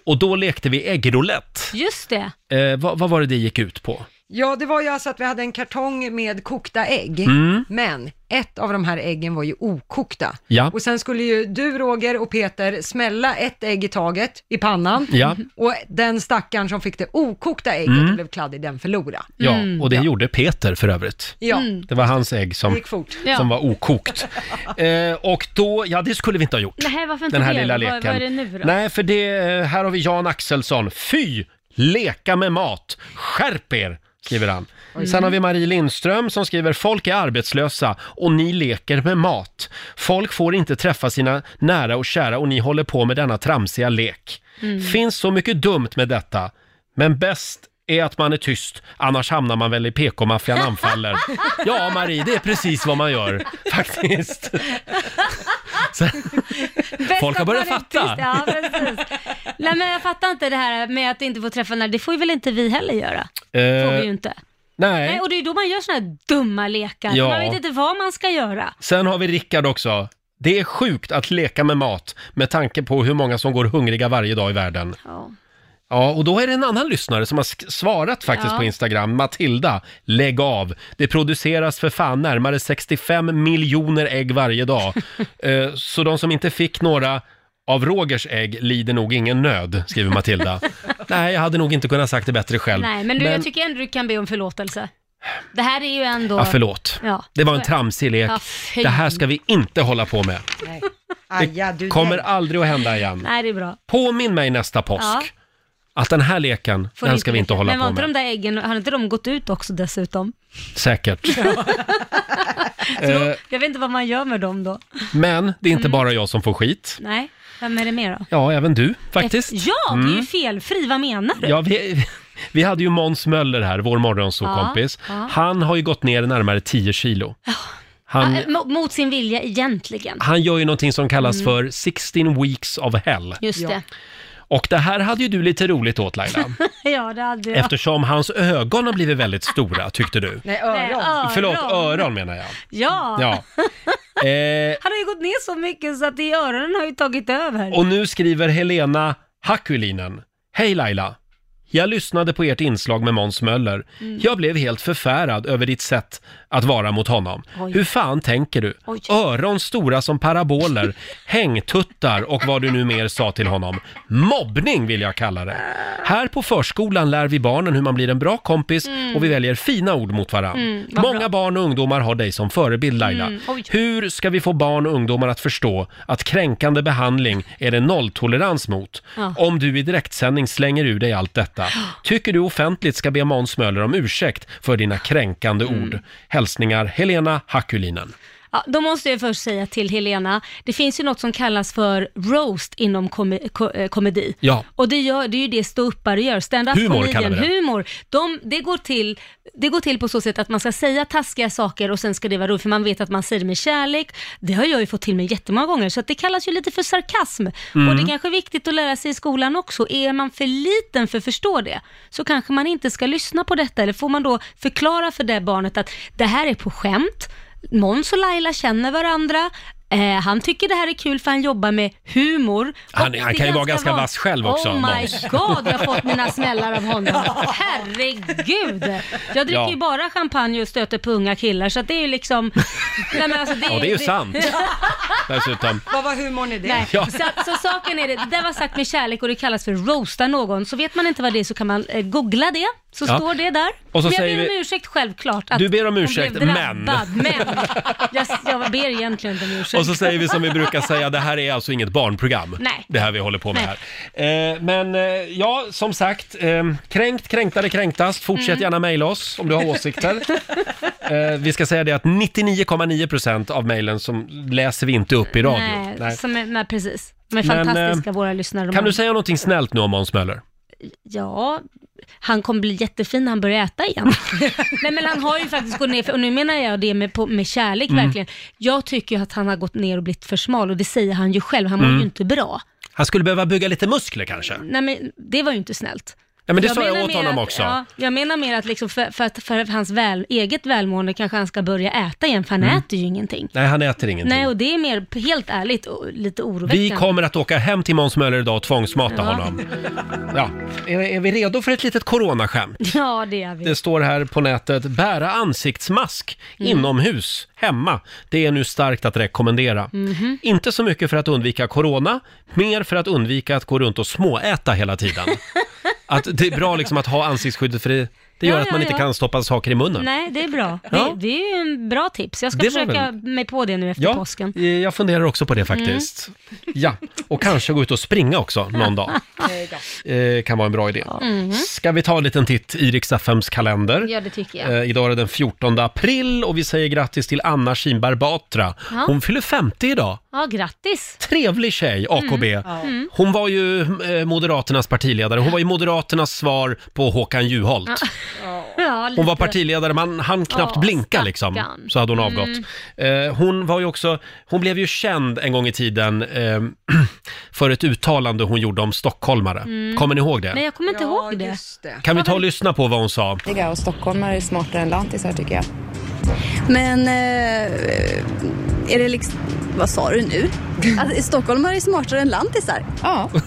S1: Och då lekte vi äggroulette.
S2: Just det.
S1: Eh, vad, vad var det det gick ut på?
S3: Ja, det var ju alltså att vi hade en kartong med kokta ägg,
S1: Mm.
S3: men ett av de här äggen var ju okokta.
S1: Ja.
S3: Och sen skulle ju du, Roger och Peter smälla ett ägg i taget i pannan
S1: Ja.
S2: Mm.
S1: Mm.
S3: och den stackaren som fick det okokta ägget och blev kladdig, den förlorade.
S1: Ja, och
S2: Mm.
S1: det gjorde Peter för övrigt.
S3: Ja,
S1: Det var hans ägg
S3: det
S1: som,
S3: gick fort.
S2: Ja.
S1: som var okokt. Eh, och då, ja det skulle vi inte ha gjort.
S2: Nej, varför inte
S1: den här
S2: det?
S1: lilla
S2: Vad-
S1: leken.
S2: vad är det nu då?
S1: Nej, för det, eh, här har vi Jan Axelsson. Fy! Leka med mat! Skärp er! Skriver han. Sen har vi Marie Lindström som skriver “Folk är arbetslösa och ni leker med mat. Folk får inte träffa sina nära och kära och ni håller på med denna tramsiga lek.
S2: Mm.
S1: Finns så mycket dumt med detta, men bäst är att man är tyst, annars hamnar man väl i PK-maffian anfaller. Ja, Marie, det är precis vad man gör, faktiskt.
S2: Bäst
S1: Folk har
S2: att
S1: börjat
S2: man är
S1: fatta.
S2: tyst. Ja, precis. Nej men jag fattar inte det här med att inte få träffa när det får ju väl inte vi heller göra. Får vi ju
S1: Eh,
S2: inte.
S1: nej.
S2: Nej, och det är ju då man gör såna här dumma lekar.
S1: Ja.
S2: Man vet inte vad man ska göra.
S1: Sen har vi Rickard också. Det är sjukt att leka med mat med tanke på hur många som går hungriga varje dag i världen.
S2: Ja.
S1: Ja, och då är det en annan lyssnare som har sk- svarat faktiskt
S2: Ja.
S1: på Instagram. Matilda, lägg av. Det produceras för fan närmare 65 miljoner ägg varje dag. Eh, Så de som inte fick några av Rogers ägg lider nog ingen nöd, skriver Matilda. Nej, jag hade nog inte kunnat sagt det bättre själv.
S2: Nej, men, du, jag tycker ändå du kan be om förlåtelse. Det här är ju ändå...
S1: Ja, förlåt.
S2: Ja.
S1: Det var en tramsig lek.
S2: Ja, fy.
S1: Det här ska vi inte hålla på med.
S3: Nej. Aja, du,
S1: Kommer aldrig att hända igen.
S2: Nej, det är bra.
S1: Påminn mig nästa
S2: Ja.
S1: påsk att den här leken,
S2: Får
S1: den
S2: ni
S1: ska vi inte hålla
S2: Men var
S1: på
S2: inte
S1: med.
S2: de där äggen, har inte de gått ut också dessutom?
S1: Säkert. Eh,
S2: Jag vet inte vad man gör med dem då.
S1: Men det är
S2: Mm.
S1: inte bara jag som får skit.
S2: Nej, vem är det mer då?
S1: Ja, även du faktiskt. Mm.
S2: Ja, du är ju felfri, vad menar du?
S1: Ja, vi, vi hade ju Måns Möller här, vår morgonsåkompis.
S2: Ja, ja.
S1: Han har ju gått ner närmare 10 kilo. Han,
S2: Ja, eh, mo- mot sin vilja egentligen.
S1: han gör ju någonting som
S2: Mm.
S1: kallas för 16 weeks of hell.
S2: Just det.
S1: Och det här hade ju du lite roligt åt Laila.
S2: Ja, det hade jag.
S1: Eftersom hans ögon har blivit väldigt stora, tyckte du.
S3: Nej,
S2: Nej,
S3: öron.
S1: Förlåt, öron menar jag.
S2: Ja.
S1: Ja. Eh,
S2: Han har ju gått ner så mycket så att i öronen har ju tagit över.
S1: och nu skriver Helena Hakulinen. Hej Laila! Jag lyssnade på ert inslag med Måns Möller.
S2: Mm.
S1: Jag blev helt förfärad över ditt sätt att vara mot honom.
S2: Oj.
S1: Hur fan tänker du?
S2: Oj.
S1: Öron stora som paraboler, hängtuttar och vad du nu mer sa till honom. Mobbning vill jag kalla det. Här på förskolan lär vi barnen hur man blir en bra kompis
S2: Mm.
S1: och vi väljer fina ord mot varandra. Många barn och ungdomar har dig som förebild Laila.
S2: Mm, oj.
S1: Hur ska vi få barn och ungdomar att förstå att kränkande behandling är det nolltolerans mot?
S2: Ja.
S1: Om du i direktsändning slänger ur dig allt detta. Tycker du offentligt ska be Måns Möller om ursäkt för dina kränkande
S2: Mm.
S1: ord? Hälsningar Helena Hakulinen.
S2: Ja, då måste jag först säga till Helena, det finns ju något som kallas för roast inom kom- ko- eh, komedi.
S1: Ja.
S2: Och det, gör, det är ju det ståuppare gör. Stand-up
S1: Humor
S2: comedian,
S1: kallar vi det.
S2: Humor. De, det, går till, det går till på så sätt att man ska säga taskiga saker och sen ska det vara roligt, för man vet att man säger det med kärlek. Det har jag ju fått till mig jättemånga gånger, så att det kallas ju lite för sarkasm. Och det
S1: Mm.
S2: är kanske är viktigt att lära sig i skolan också. Är man för liten för att förstå det, så kanske man inte ska lyssna på detta. Eller får man då förklara för det barnet att det här är på skämt, Måns och Laila känner varandra, Eh, han tycker det här är kul för han jobbar med humor.
S1: Han-
S2: Och
S1: han
S2: det
S1: kan ju vara
S2: ganska
S1: ganska
S2: van-
S1: vass själv också,
S2: Oh my
S1: Måns.
S2: god, jag har fått mina smällar av honom. Herregud. Jag dricker
S1: Ja.
S2: ju bara champagne och stöter på unga killar, så att det är ju liksom... Nej, men alltså, det,
S1: Ja, det är ju sant. Dessutom.
S3: Vad var humorn i det?
S2: Nej.
S1: Ja.
S2: Så, att- så saken är det, det där var sagt med kärlek och det kallas för roasta någon. Så vet man inte vad det är så kan man eh, googla det, så
S1: Ja.
S2: står det där.
S1: Och så
S2: men jag
S1: säger
S2: ber
S1: vi-
S2: om ursäkt självklart. Att
S1: Du ber om
S2: hon
S1: ursäkt,
S2: blev
S1: men-
S2: drabbad, men. Jag, jag ber egentligen inte om ursäkt.
S1: Och så säger vi som vi brukar säga, det här är alltså inget barnprogram.
S2: Nej.
S1: Det här vi håller på med här. Eh, men eh, ja, som sagt, eh, kränkt, kränktare, kränktast. Fortsätt
S2: Mm.
S1: gärna mejla oss om du har åsikter. eh, vi ska säga det att 99,9% av mejlen som läser vi inte upp i radio.
S2: Nej,
S1: Nej.
S2: Som är, nej, precis. De är
S1: Men, eh,
S2: fantastiska våra lyssnare. De
S1: Kan
S2: har-
S1: du säga någonting snällt nu om Måns Möller?
S2: Ja, han kommer bli jättefin när han börjar äta igen. Nej men han har ju faktiskt gått ner, för, och nu menar jag det med, på, med kärlek
S1: Mm.
S2: verkligen. Jag tycker ju att han har gått ner och blivit för smal och det säger han ju själv, han
S1: Mm.
S2: mår ju inte bra.
S1: Han skulle behöva bygga lite muskler kanske?
S2: Nej men det var ju inte snällt.
S1: Ja, men det sa jag
S2: menar
S1: åt
S2: mer
S1: honom
S2: att,
S1: också.
S2: Ja, jag menar mer att liksom för, för, att för hans väl, eget välmående kanske han ska börja äta igen, för han
S1: Mm.
S2: äter ju ingenting.
S1: Nej, han äter ingenting.
S2: Nej, och det är mer, helt ärligt, och lite oroväckande.
S1: Vi kommer att åka hem till Måns Möller idag och tvångsmata
S2: Ja.
S1: honom. Ja. Är, är vi redo för ett litet coronaskämt?
S2: Ja, det är vi.
S1: Det står här på nätet, bära ansiktsmask
S2: Mm.
S1: inomhus, hemma. Det är nu starkt att rekommendera.
S2: Mhm.
S1: Inte så mycket för att undvika corona, mer för att undvika att gå runt och småäta hela tiden. att det är bra liksom att ha ansiktsskyddet för det, det gör
S2: Ja,
S1: att
S2: ja,
S1: man inte
S2: ja.
S1: kan stoppa saker i munnen.
S2: Nej, det är bra. Det,
S1: Ja.
S2: det är ju en bra tips. Jag ska
S1: Det var
S2: försöka mig på det nu efter
S1: Ja,
S2: påsken. Mm.
S1: eh, jag funderar också på det faktiskt. Ja, och kanske gå ut och springa också någon dag. Eh, kan vara en bra idé. Ska vi ta en liten titt i Rix FMs kalender?
S2: Mm. Ja, det tycker jag.
S1: Eh, idag är det den 14 april och vi säger grattis till Anna Kinberg Batra.
S2: Ja.
S1: Hon fyller 50 idag.
S2: Ja, grattis.
S1: Trevlig
S2: Mm.
S1: tjej, AKB. Hon var ju eh, Moderaternas partiledare. Hon var ju Moderaternas svar på Håkan Juholt.
S2: Ja,
S1: Hon var
S2: lite.
S1: partiledare, man hann knappt
S2: Ja,
S1: blinka liksom,
S2: stackarn. Mm.
S1: så hade hon avgått. Eh, hon var ju också, hon blev ju känd en gång i tiden eh, för ett uttalande hon gjorde om stockholmare. Kommer ni ihåg det?
S2: Mm. Men jag kommer inte
S3: Ja,
S2: ihåg det.
S3: just det.
S1: Kan vi ta och lyssna på vad hon sa?
S9: och stockholmare är smartare än lantisar tycker jag. Men eh, är det liksom... Vad sa du nu? Att stockholmare är smartare än lantisar? Ja.
S2: Nej,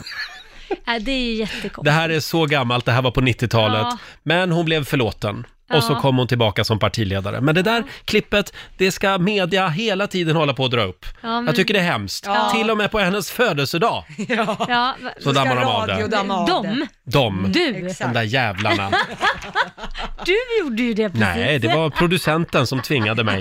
S2: Äh, det är ju jättekonstigt.
S1: Det här är så gammalt, det här var på 90-talet.
S2: Ja.
S1: Men hon blev förlåten. Och så
S2: Ja.
S1: kom hon tillbaka som partiledare. Men det där klippet, det ska media hela tiden hålla på att dra upp.
S2: Ja, men-
S1: Jag tycker det är hemskt.
S2: Ja.
S1: Till och med på hennes födelsedag,
S2: Ja, va-
S1: så dammar de av
S3: radio
S1: det.
S3: damma av Mm,
S2: de?
S1: De,
S2: Du?
S1: de där jävlarna.
S2: Du gjorde ju det precis.
S1: Nej, det var producenten som tvingade mig.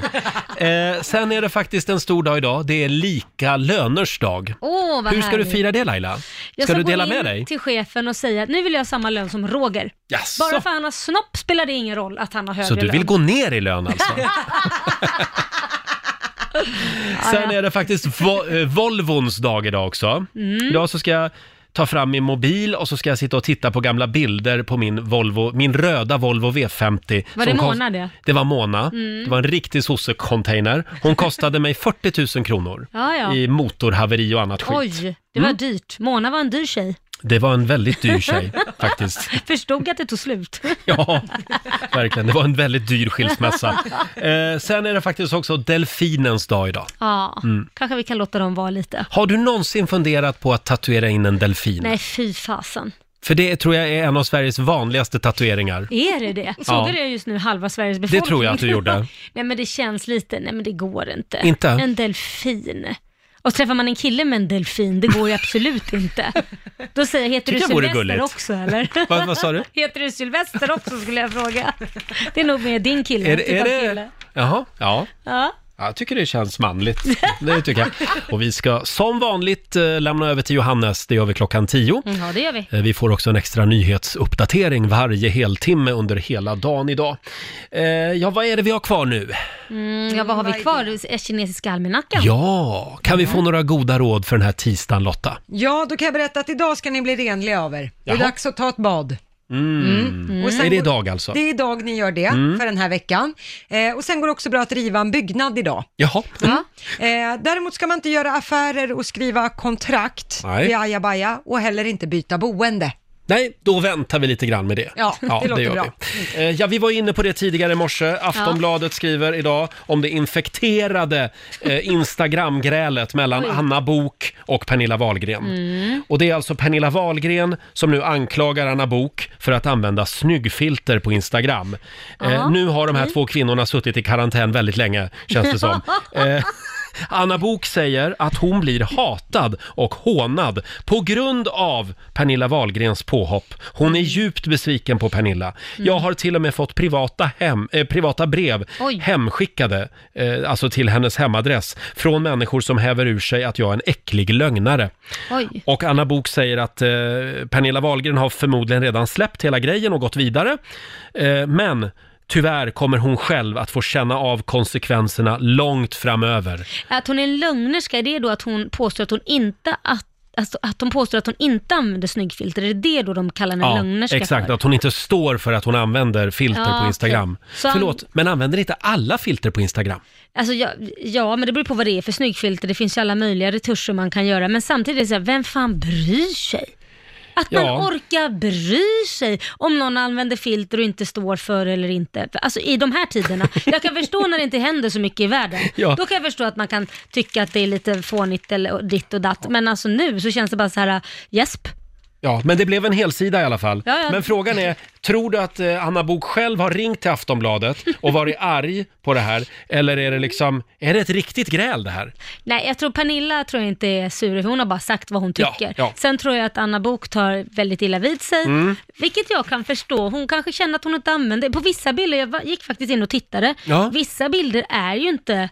S1: Eh, sen är det faktiskt en stor dag idag. Det är lika löners dag.
S2: Åh, vad
S1: Hur ska du
S2: härligt.
S1: fira det Laila?
S2: Jag
S1: Ska du
S2: gå
S1: dela
S2: in
S1: med dig?
S2: till chefen och säga att nu vill jag ha samma lön som Roger.
S1: Jaså?
S2: Bara för att han har snopp spelar det ingen roll att han har högre
S1: Så du vill
S2: lön.
S1: gå ner i lön alltså? Sen är det faktiskt vo- eh, Volvons dag idag också.
S2: Mm.
S1: Idag så ska jag ta fram min mobil och så ska jag sitta och titta på gamla bilder på min Volvo, min röda Volvo V50.
S2: Var det
S1: som kost-
S2: Mona det? Mm.
S1: Det var Mona. Det var en riktig sosse-container. Hon kostade mig 40 000 kronor
S2: Ja, ja.
S1: i motorhaveri och annat skit. Mm.
S2: Oj, det var dyrt. Mona var en dyr tjej.
S1: Det var en väldigt dyr tjej faktiskt.
S2: Förstod att det tog slut.
S1: Mm. Ja, verkligen. Det var en väldigt dyr skilsmässa. Eh, sen är det faktiskt också delfinens dag idag.
S2: Ja, kanske vi kan låta dem vara lite.
S1: Har du någonsin funderat på att tatuera in en delfin?
S2: Nej, fy fasen.
S1: För det tror jag är en av Sveriges vanligaste tatueringar.
S2: Är det det? Såg du det just nu, halva Sveriges befolkning?
S1: tror jag att du gjorde.
S2: nej, men det känns lite, nej men det går inte.
S1: Inte?
S2: En delfin. Och träffar man en kille med en delfin, det går ju absolut inte. Då säger jag, heter du
S1: Tycker jag vore
S2: Sylvester
S1: gulligt.
S2: också eller?
S1: Vad- vad sa du?
S2: Heter du Sylvester också skulle jag fråga. Det är nog mer din kille.
S1: Är,
S2: typ
S1: det- är
S2: av
S1: det...
S2: kille.
S1: Jaha, ja.
S2: Ja.
S1: Jag tycker det känns manligt. Det tycker jag. Och vi ska som vanligt eh, lämna över till Johannes. Det gör vi klockan tio.
S2: Mm, ja, det gör vi.
S1: Eh, Vi får också en extra nyhetsuppdatering varje heltimme under hela dagen idag. Eh, ja, vad är det vi har kvar nu?
S2: Mm, ja, vad har vi kvar? Kinesiska almanackan?
S1: Ja, kan vi få några goda råd för den här tisdagen Lotta?
S3: Ja, då kan jag berätta att idag ska ni bli renliga av er. Det är
S1: Jaha.
S3: dags att ta ett bad.
S1: Mm.
S3: Och sen
S1: Är det
S3: går-
S1: idag alltså?
S3: Det är idag ni gör det
S1: Mm.
S3: för den här veckan. Eh, och sen går det också bra att riva en byggnad idag.
S1: Jaha.
S3: Eh, däremot ska man inte göra affärer och skriva kontrakt
S1: Nej.
S3: i ajabaja och heller inte byta boende.
S1: Nej, då väntar vi lite grann med det.
S3: Ja, det låter
S1: gör
S3: bra.
S1: Vi. Eh, Ja, vi var inne på det tidigare i morse. Aftonbladet skriver idag om det infekterade eh, Instagram-grälet mellan Anna Bok och Pernilla Wahlgren.
S3: Mm.
S1: Och det är alltså Pernilla Wahlgren som nu anklagar Anna Bok för att använda snyggfilter på Instagram. Eh,
S2: Ja,
S1: nu har de
S3: Mm.
S1: här två kvinnorna suttit i karantän väldigt länge, känns det som. Eh, Anna Bok säger att hon blir hatad och hånad på grund av Pernilla Wahlgrens påhopp. Hon är djupt besviken på Pernilla. Jag har till och med fått privata, hem, eh, privata brev
S2: Oj.
S1: hemskickade, eh, alltså till hennes hemadress, från människor som häver ur sig att jag är en äcklig lögnare.
S2: Oj.
S1: Och Anna Bok säger att eh, Pernilla Wahlgren har förmodligen redan släppt hela grejen och gått vidare. Eh, men tyvärr kommer hon själv att få känna av konsekvenserna långt framöver.
S2: Att hon är en lögnerska, är det då att hon påstår att hon inte att Alltså att hon påstår att hon inte använder snyggfilter, är det det då de kallar en lögnerska
S1: exakt.
S2: för?
S1: Att hon inte står för att hon använder filter
S2: Ja,
S1: på Instagram.
S2: okej. Så han-
S1: Förlåt, men använder inte alla filter på Instagram?
S2: Alltså ja, ja, men det beror på vad det är för snyggfilter. Det finns ju alla möjliga retuscher man kan göra. Men samtidigt är det så här, vem fan bryr sig? Att man
S1: Ja.
S2: orkar bry sig om någon använder filter och inte står för eller inte. För, Alltså i de här tiderna. Jag kan förstå när det inte händer så mycket i världen.
S1: Ja.
S2: Då kan jag förstå att man kan tycka att det är lite fånigt eller och ditt och datt. Men alltså nu så känns det bara så här, äh, gäsp.
S1: Ja, men det blev en hel sida i alla fall.
S2: Ja, ja.
S1: Men frågan är, tror du att eh, Anna Bok själv har ringt till Aftonbladet och varit arg på det här? Eller är det liksom, är det ett riktigt gräl det här?
S2: Nej, jag tror Pernilla tror jag inte är sur, för hon har bara sagt vad hon
S1: Ja,
S2: tycker.
S1: ja. Mm.
S2: Sen tror jag att Anna Bok tar väldigt illa vid sig, vilket jag kan förstå. Hon kanske känner att hon inte använder, på vissa bilder, jag va- gick faktiskt in och tittade,
S1: Ja.
S2: vissa bilder är ju inte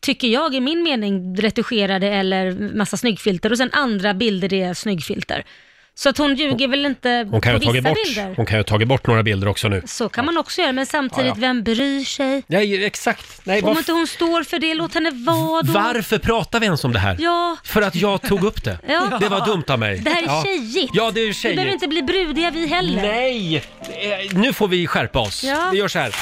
S2: tycker jag i min mening retuscherade eller massa snyggfilter och sen andra bilder är snyggfilter. Så att hon ljuger väl inte
S1: Hon kan, ju
S2: på
S1: ha tagit
S2: vissa
S1: bort,
S2: bilder.
S1: hon kan ju ha tagit bort några bilder också nu.
S2: Så kan man också göra, men samtidigt,
S1: Ja, ja.
S2: vem bryr sig?
S1: Nej, exakt. Nej,
S2: Om
S1: varf-
S2: inte hon står för det, låt henne vara då.
S1: varför pratar vi ens om det här?
S2: Ja.
S1: För att jag tog upp det.
S2: Ja.
S1: Det var dumt av mig.
S2: Det här är
S1: ja.
S2: tjejigt.
S1: Ja, det är
S2: Vi behöver
S1: tjejigt.
S2: inte bli brudiga vi heller.
S1: Nej! Eh, Nu får vi skärpa oss.
S2: Ja.
S1: Vi gör så här.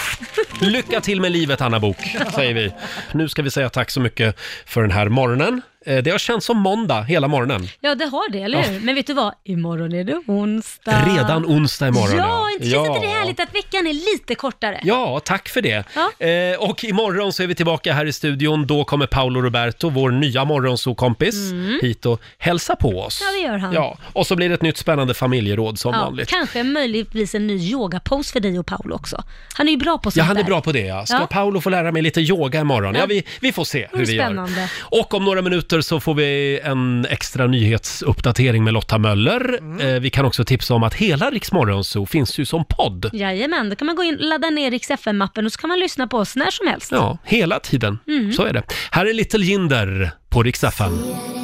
S1: Lycka till med livet, Anna Bok, säger vi. Nu ska vi säga tack så mycket för den här morgonen. Eh, Det har känts som måndag hela morgonen.
S2: Ja, det har det, eller hur? Men vet du vad? Imorgon är det onsdag.
S1: Redan onsdag imorgon.
S2: Ja, inte känns inte det härligt att veckan veckan är lite kortare.
S1: Ja, tack för det.
S2: Ja.
S1: Eh, och imorgon så är vi tillbaka här i studion. Då kommer Paolo Roberto, vår nya morgonsokompis, hit och hälsa på oss.
S2: Mm. Ja, det gör han.
S1: Ja, och så blir det ett nytt spännande familjeråd som
S2: Ja,
S1: vanligt.
S2: kanske möjligtvis en ny yogapose för dig och Paolo också. Han är ju bra på sånt
S1: Ja, han är
S2: där.
S1: bra på det. Ja. Ska
S2: Ja.
S1: Paolo få lära mig lite yoga imorgon? Ja,
S2: Ja.
S1: vi, vi får se hur
S2: Mm,
S1: vi gör.
S2: spännande.
S1: Och om några minuter så får vi en extra nyhetsuppdatering med Lotta Möller. Eh, vi kan också tipsa om att hela Rix Morgonzoo finns ju som podd.
S2: Jajamän, då kan man gå in ladda ner Rix FM-appen och så kan man lyssna på oss när som helst.
S1: Mm. Ja, hela tiden. Så är det. Här är Little Jinder på Rix FM.